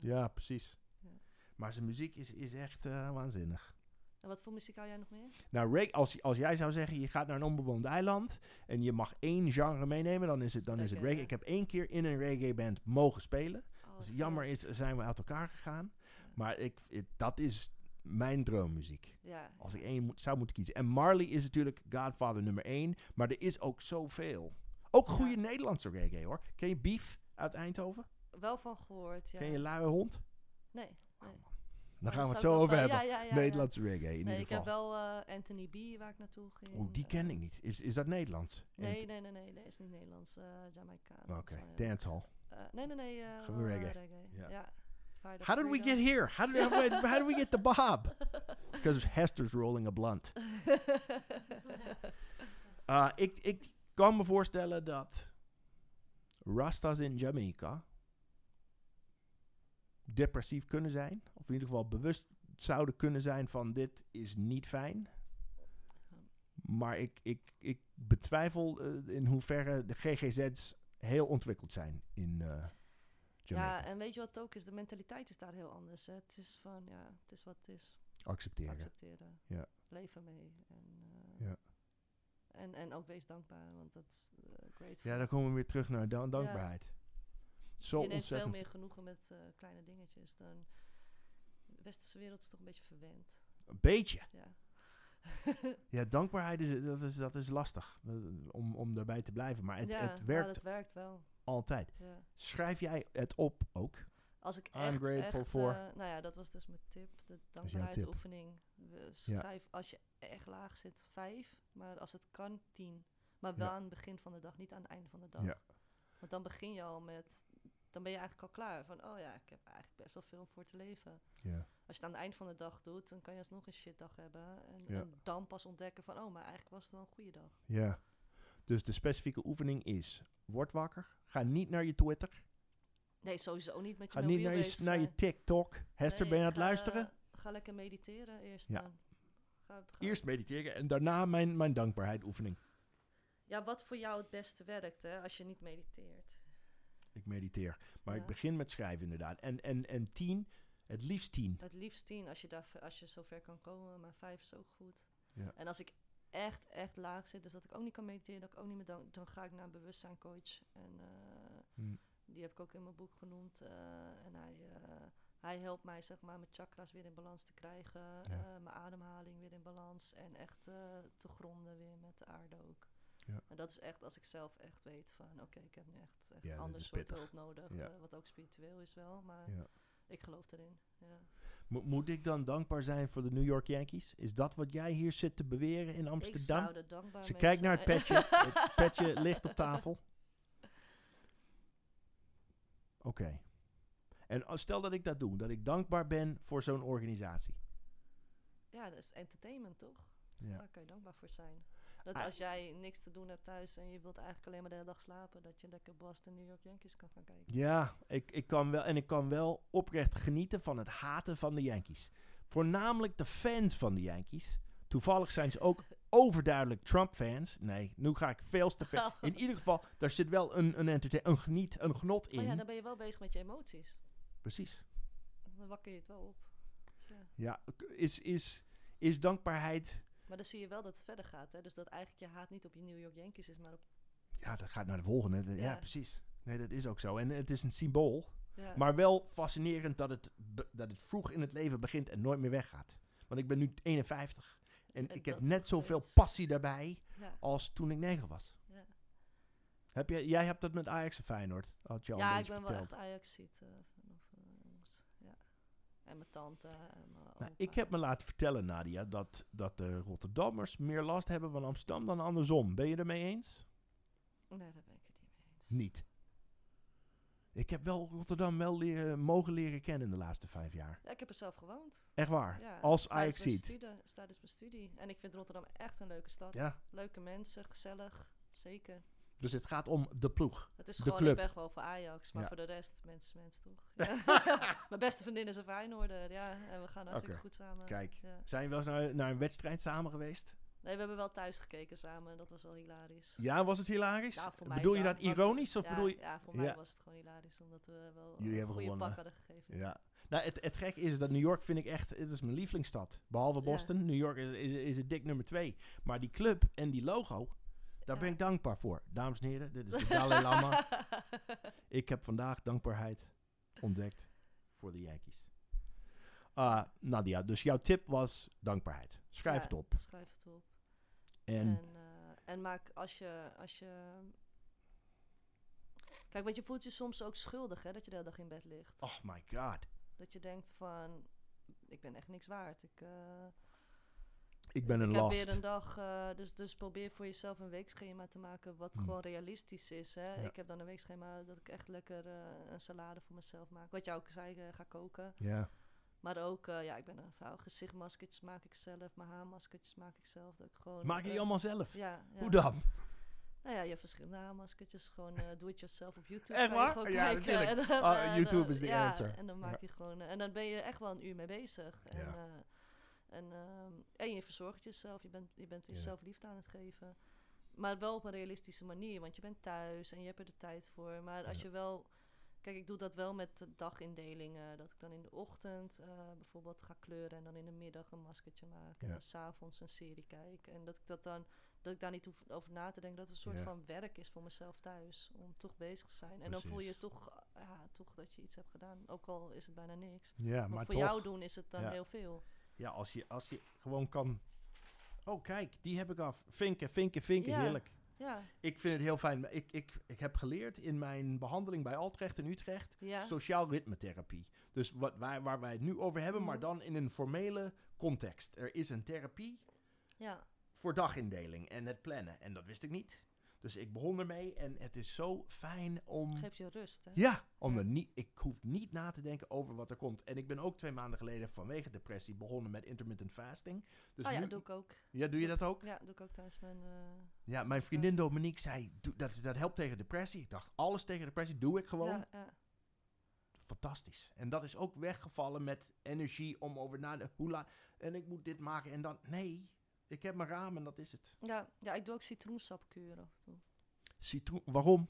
A: ja, precies.
B: Ja.
A: Maar zijn muziek is, is echt eh, waanzinnig.
B: En wat voor muziek hou jij nog meer?
A: Nou, reggae, als, als jij zou zeggen, je gaat naar een onbewoond eiland en je mag één genre meenemen, dan is het, dan is het
B: Oké,
A: reggae.
B: ja.
A: Ik heb één keer in een reggae band mogen spelen.
B: Oh,
A: Als
B: vet.
A: het jammer is, zijn we uit elkaar gegaan.
B: Ja.
A: Maar ik, ik- dat is mijn droommuziek.
B: Ja.
A: Als ik één moet- zou moeten kiezen. En Marley is natuurlijk Godfather nummer één. Maar er is ook zoveel. Ook goede
B: Ja.
A: Nederlandse reggae hoor. Ken je Beef uit Eindhoven?
B: Wel van gehoord, ja.
A: Ken je Luie Hond?
B: Nee.
A: Daar
B: Maar
A: gaan we
B: dat
A: het
B: zou
A: zo
B: ik
A: over
B: wel-
A: hebben.
B: Ja, ja, ja, ja.
A: Nederlandse reggae in
B: nee, ik
A: ieder
B: heb
A: geval.
B: wel eh, Anthony B. waar ik naartoe ging.
A: Oeh, die
B: eh,
A: ken ik niet. Is, is dat Nederlands?
B: Nee, nee, nee, nee. Dat is niet Nederlands. eh Jamaicaans.
A: Oké,
B: maar ja.
A: dancehall.
B: Eh, nee, nee, nee. eh,
A: Gewoon
B: wel, eh,
A: reggae. Ja.
B: Ja. Fire the
A: How did we
B: Freedom.
A: get here? How did, how did- how did we get the Bob? It's because Hester's rolling a blunt. Uh, ik, ik kan me voorstellen dat Rasta's in Jamaica depressief kunnen zijn. Of in ieder geval bewust zouden kunnen zijn van dit is niet fijn. Maar ik, ik, ik betwijfel eh, in hoeverre de GGZ's heel ontwikkeld zijn in eh, Jamaica.
B: Ja, en weet je wat het ook is? De mentaliteit is daar heel anders. Hè? Het is van, ja, het is wat het is.
A: Accepteren.
B: Accepteren.
A: Ja.
B: Leven mee. En, eh,
A: Ja.
B: en, en ook wees dankbaar, want dat is eh, great. grateful.
A: Ja, dan komen we weer terug naar dan- dankbaarheid. Zo
B: je neemt veel
A: ontzettend.
B: meer genoegen met eh, kleine dingetjes dan... De westerse wereld is toch een beetje verwend.
A: Een beetje.
B: Ja.
A: Ja, dankbaarheid is, dat is, dat is lastig eh, om, om daarbij te blijven. Maar het,
B: ja,
A: het
B: maar
A: werkt
B: dat werkt wel.
A: altijd.
B: Ja.
A: Schrijf jij het op ook?
B: Als ik
A: I'm
B: echt,
A: grateful
B: echt,
A: for-
B: eh, nou ja, dat was dus mijn tip. De
A: tip.
B: dankbaarheidsoefening. We Schrijf als je echt laag zit vijf, maar als het kan tien. Maar wel
A: Ja.
B: aan het begin van de dag, niet aan het einde van de dag.
A: Ja.
B: Want dan begin je al met, dan ben je eigenlijk al klaar. Van, oh ja, ik heb eigenlijk best wel veel om voor te leven.
A: Ja.
B: Als je het aan het eind van de dag doet, dan kan je alsnog een shitdag hebben. En,
A: Ja.
B: en dan pas ontdekken van, oh, maar eigenlijk was het wel een goede dag.
A: ja. Dus de specifieke oefening is: word wakker. Ga niet naar je Twitter.
B: Nee, sowieso niet met
A: Ga
B: je
A: niet
B: mobiel
A: naar je,
B: bezig
A: s- naar je
B: zijn.
A: TikTok. Hester,
B: Nee,
A: ben je aan het
B: ga-
A: luisteren?
B: Ga lekker mediteren eerst
A: Ja.
B: dan. Ga- ga-
A: Eerst mediteren en daarna mijn, mijn dankbaarheid oefening.
B: Ja, wat voor jou het beste werkt, hè, als je niet mediteert.
A: Ik mediteer. Maar ik
B: Ja.
A: begin met schrijven inderdaad. En, en, en tien, het liefst tien.
B: Het liefst tien, als je, daar, als je zover kan komen, maar vijf is ook goed.
A: Ja.
B: En als ik echt, echt laag zit, dus dat ik ook niet kan mediteren, dat ik ook niet meer dan, dan ga ik naar een bewustzijncoach. En eh,
A: Hmm.
B: die heb ik ook in mijn boek genoemd. eh, en hij, eh, hij helpt mij, zeg maar, mijn chakras weer in balans te krijgen, eh, mijn ademhaling weer in balans en echt eh, te gronden weer met de aarde ook.
A: Ja.
B: En dat is echt als ik zelf echt weet van, oké, ik heb nu echt, echt
A: Ja, dit
B: anders
A: is
B: soort
A: pittig.
B: hulp nodig,
A: Ja.
B: eh, wat ook spiritueel is wel, maar
A: Ja.
B: ik geloof erin. Ja.
A: Mo- moet ik dan dankbaar zijn voor de New York Yankees? Is dat wat jij hier zit te beweren in
B: Ik
A: Amsterdam?
B: zou er dankbaar
A: Ze
B: mee
A: kijkt naar het
B: zijn.
A: petje. het petje ligt op tafel. Oké. En als- stel dat ik dat doe, dat ik dankbaar ben voor zo'n organisatie.
B: Ja, dat is entertainment toch? Dus
A: Ja.
B: Daar kan je dankbaar voor zijn. Dat
A: Ah.
B: als jij niks te doen hebt thuis en je wilt eigenlijk alleen maar de hele dag slapen, dat je lekker Boston New York Yankees kan gaan kijken.
A: Ja, ik, ik kan wel, en ik kan wel oprecht genieten van het haten van de Yankees. Voornamelijk de fans van de Yankees. Toevallig zijn ze ook overduidelijk Trump-fans. Nee, nu ga ik veel te ver. In ieder geval, daar zit wel een, een, entertain, een geniet, een genot in.
B: Maar Oh ja, dan ben je wel bezig met je emoties.
A: Precies.
B: Dan wakker je het wel op. Dus ja.
A: Ja, k- is, is, is dankbaarheid...
B: Maar dan zie je wel dat het verder gaat. Hè? Dus dat eigenlijk je haat niet op je New York Yankees is, maar op.
A: Ja, dat gaat naar de volgende. Ja,
B: Ja.
A: precies. Nee, dat is ook zo. En het is een symbool.
B: Ja.
A: Maar wel fascinerend dat het, be- dat het vroeg in het leven begint en nooit meer weggaat. Want ik ben nu 51. En
B: En
A: ik heb
B: dat
A: net
B: is
A: zoveel
B: goed.
A: passie daarbij
B: ja.
A: als toen ik 9 was.
B: Ja.
A: Heb jij, jij hebt dat met Ajax en Feyenoord, had je al
B: Ja,
A: een
B: ik
A: beetje
B: ben wel
A: verteld.
B: echt Ajax ziet. vanaf, eh, jongens. ja. En mijn tante. En mijn
A: Nou,
B: opa.
A: ik heb me laten vertellen, Nadia, dat, dat de Rotterdammers meer last hebben van Amsterdam dan andersom. Ben je ermee eens?
B: Nee, daar ben ik het niet mee eens.
A: Niet. Ik heb wel Rotterdam wel leren, mogen leren kennen in de laatste vijf jaar.
B: Ja, ik heb er zelf gewoond.
A: Echt waar.
B: Ja,
A: Als
B: tijdens
A: Ajax
B: mijn
A: ziet.
B: studie- Tijdens mijn studie. En ik vind Rotterdam echt een leuke stad.
A: Ja.
B: Leuke mensen, gezellig. Zeker.
A: Dus het gaat om de ploeg.
B: Het is
A: De
B: gewoon,
A: club.
B: ik ben gewoon voor Ajax. Maar
A: Ja.
B: voor de rest, mensen, mensen toch. Ja. mijn beste vriendin is een Feyenoorder. Ja, en we gaan hartstikke
A: Oké.
B: goed samen.
A: Kijk.
B: Ja.
A: Zijn je wel eens naar, naar een wedstrijd samen geweest?
B: Nee, we hebben wel thuis gekeken samen. Dat was wel hilarisch.
A: Ja, was het hilarisch?
B: Ja, voor mij
A: bedoel je
B: wel,
A: dat
B: want-
A: ironisch of
B: ja,
A: bedoel je...
B: ja, voor mij
A: Ja.
B: was het gewoon hilarisch. Omdat we wel een
A: Jullie hebben
B: goede
A: gewonnen.
B: pak hadden gegeven.
A: Ja. Nou, het, het gekke is dat New York vind ik echt... Het is mijn lievelingsstad. Behalve
B: Ja.
A: Boston. New York is, is, is het dik nummer twee. Maar die club en die logo, daar
B: Ja.
A: ben ik dankbaar voor. Dames en heren, dit is de Dalai Lama. ik heb vandaag dankbaarheid ontdekt voor de Yankees. Ah, Nadia, dus jouw tip was dankbaarheid. Schrijf
B: Ja,
A: het op.
B: Schrijf het op.
A: En,
B: En, eh, en maak als je, als je. Kijk, want je voelt je soms ook schuldig hè, dat je de hele dag in bed ligt.
A: oh my god.
B: Dat je denkt van. Ik ben echt niks waard. Ik, eh,
A: Ik ben een
B: ik heb
A: last.
B: weer een dag. eh, dus, dus probeer voor jezelf een weekschema te maken. wat
A: Hmm.
B: gewoon realistisch is. Hè.
A: Ja.
B: Ik heb dan een weekschema dat ik echt lekker eh, een salade voor mezelf maak. Wat jij ook zei, eh, ga koken.
A: Ja.
B: Maar ook, eh, ja, ik ben een vrouw. Gezichtmaskertjes maak ik zelf. Mijn haarmaskertjes maak ik zelf. Dat ik gewoon,
A: Maak je die
B: eh,
A: allemaal zelf?
B: Ja, ja.
A: Hoe dan?
B: Nou ja, je hebt verschillende haarmaskertjes. Gewoon eh do it yourself op YouTube.
A: Echt
B: kan je
A: waar? Oh
B: gewoon
A: Ja,
B: kijken
A: natuurlijk.
B: en dan,
A: Ah,
B: eh,
A: YouTube
B: dan-
A: is the
B: ja,
A: answer.
B: En dan maak je gewoon... eh, en dan ben je echt wel een uur mee bezig. En,
A: Ja.
B: eh, en, ehm, en je verzorgt jezelf. Je bent, je bent
A: Ja.
B: jezelf liefde aan het geven. Maar wel op een realistische manier. Want je bent thuis en je hebt er de tijd voor. Maar als
A: Ja.
B: je wel... Kijk, ik doe dat wel met eh, dagindelingen. Dat ik dan in de ochtend eh, bijvoorbeeld ga kleuren en dan in de middag een maskertje maak. En
A: Ja.
B: dan s'avonds een serie kijk. En dat ik dat dan dat ik daar niet hoef over na te denken. Dat het een soort
A: Ja.
B: van werk is voor mezelf thuis. Om toch bezig te zijn. En dan voel je
A: Precies.
B: toch, eh, ja, toch dat je iets hebt gedaan. Ook al is het bijna niks.
A: Ja,
B: Maar,
A: maar
B: voor
A: toch.
B: jou doen is het dan
A: Ja.
B: heel veel.
A: Ja, als je, als je gewoon kan... Oh, kijk, die heb ik af. Vinken, vinken, vinken,
B: Ja.
A: heerlijk.
B: Ja,
A: Ik vind het heel fijn. Ik, ik, ik heb geleerd in mijn behandeling bij Altrecht in Utrecht...
B: ja.
A: sociaal ritmetherapie. Dus wat, waar, waar wij het nu over hebben, maar
B: Mhm.
A: dan in een formele context. Er is een therapie
B: ja.
A: voor dagindeling en het plannen. En dat wist ik niet. Dus ik begon ermee en het is zo fijn om...
B: Geeft je rust, hè? Ah
A: Ja, om
B: Ja.
A: er niet, ik hoef niet na te denken over wat er komt. En ik ben ook twee maanden geleden vanwege depressie begonnen met intermittent fasting. Dus
B: oh ja,
A: nu,
B: doe ik ook.
A: ja, doe je dat ook?
B: Ja, doe ik ook tijdens mijn... eh,
A: Ja, mijn vriendin Dominique zei, "Doe- dat, dat helpt tegen depressie. Ik dacht, alles tegen depressie doe ik gewoon.
B: ja, ja.
A: Fantastisch. En dat is ook weggevallen met energie om over na de hoe laat... En ik moet dit maken en dan... Nee, ik heb mijn raam en dat is het.
B: Ja, ja, ik doe ook citroensapkuren af en toe.
A: Citroen, waarom?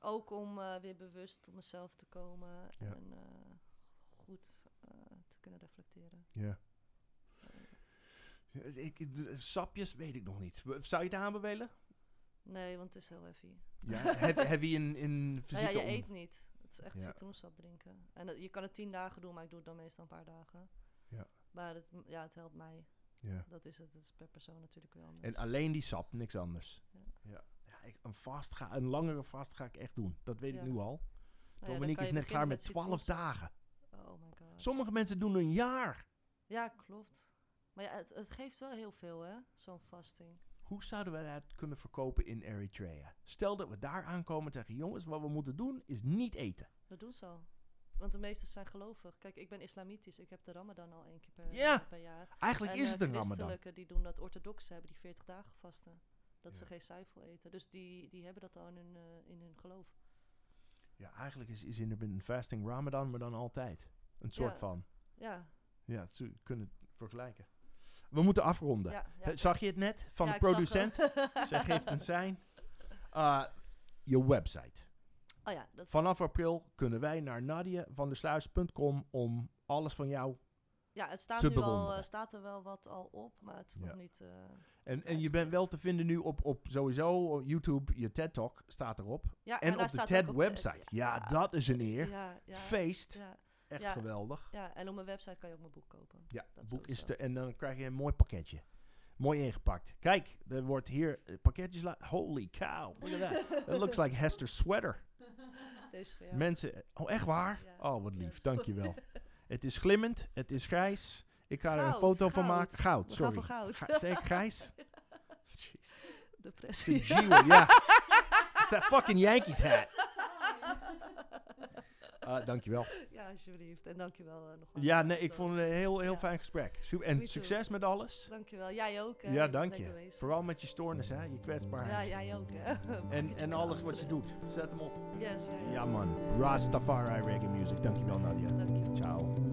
B: Ook om eh, weer bewust tot mezelf te komen
A: Ja.
B: en eh, goed eh, te kunnen reflecteren.
A: Ja. Ik, ik- sapjes weet ik nog niet. W- Zou je het aanbevelen?
B: Nee, want het is heel heavy.
A: Ja, heb, heb je in, in
B: Nou
A: fysieke
B: ja, je
A: om-
B: eet niet. Het is echt
A: Ja.
B: citroensap drinken. En dat- je kan het tien dagen doen, maar ik doe het dan meestal een paar dagen.
A: Ja.
B: Maar het, ja, het helpt mij.
A: Ja.
B: Dat is het. Dat is per persoon natuurlijk wel anders. Nou
A: En eh, alleen die sap, niks anders.
B: Ja.
A: Ja. Ja, ik, een, vast ga, een langere vast ga ik echt doen. Dat weet
B: Ja.
A: ik nu al.
B: Nou ja, dan
A: Dominique
B: kan
A: is
B: je
A: net klaar
B: beginnen
A: met 12
B: citroensap.
A: dagen.
B: Oh my god.
A: Sommige mensen doen een jaar.
B: Ja, klopt. Maar ja, het, het geeft wel heel veel, hè? Zo'n fasting.
A: Hoe zouden we dat kunnen verkopen in Eritrea? Stel dat we daar aankomen en zeggen: jongens, wat we moeten doen is niet eten.
B: Dat doen ze al. Want de meesten zijn gelovig. Kijk, ik ben islamitisch. Ik heb de ramadan al één keer per,
A: Ja.
B: per jaar.
A: Eigenlijk is
B: eh,
A: het een ramadan.
B: christelijke die doen dat. Orthodoxen hebben die 40 dagen vasten. Dat ze
A: Ja.
B: geen zuivel eten. Dus die, die hebben dat al in hun, eh, in hun geloof.
A: Ja, eigenlijk is, is intermittent fasting ramadan, maar dan altijd. Een soort
B: Ja.
A: van.
B: Ja,
A: Ja, het zou- kunnen het vergelijken. We moeten afronden.
B: ja. ja,
A: Eh, Zag je het net van de
B: Ja, ik zag wel.
A: producent? Zij geeft een sein. Eh, je website.
B: Oh ja, dat is-
A: Vanaf april kunnen wij naar nadievandersluis.com om alles van jou.
B: ja, het staat,
A: te
B: nu al,
A: bewonderen.
B: eh, staat er wel wat al op, maar het is
A: Ja.
B: nog niet... eh,
A: En, en je bent wel te vinden nu op, op sowieso op YouTube. Je TED Talk staat erop.
B: ja,
A: En,
B: daar
A: op de
B: staat ook
A: TED website. Ja, dat is een eer.
B: Ja, ja,
A: Feest.
B: ja,
A: Echt
B: Ja.
A: geweldig.
B: ja, en op mijn website kan je ook mijn boek kopen.
A: Ja,
B: Dat
A: het boek is
B: sowieso.
A: er. En dan krijg je een mooi pakketje. Mooi ingepakt. Kijk, er wordt hier eh, pakketjes. la- Holy cow. Look at that. It looks like Hester's sweater.
B: Deze is voor jou.
A: Mensen, oh echt waar?
B: Ja.
A: Oh wat lief,
B: Ja.
A: dankjewel. het is glimmend, het is grijs. Ik ga er een
B: Goud,
A: foto van
B: goud.
A: maken. Goud,
B: We
A: sorry.
B: gaan voor goud.
A: Ga- Zei ik grijs? Jezus. Het
B: Depressie.
A: is een Jew, ja. It's that fucking Yankees hat. Eh, dankjewel.
B: Ja, alsjeblieft. En dankjewel eh, nogmaals.
A: Ja, nee, ik
B: Eh,
A: vond het een heel, heel
B: Ja.
A: fijn gesprek. Su-
B: Me
A: En
B: too.
A: succes met alles.
B: Dankjewel. Jij ook. Hè.
A: Ja,
B: bent
A: dank
B: lekker
A: je.
B: bezig.
A: Vooral met je stoornis, hè. Je
B: Ja,
A: kwetsbaarheid.
B: jij ook. Hè.
A: En,
B: Pakketje
A: en
B: met
A: alles wat je
B: anderen.
A: doet. Zet hem op.
B: Yes, ja, ja.
A: Ja man. Rastafari reggae music. Dankjewel Nadia.
B: Dankjewel.
A: Ciao.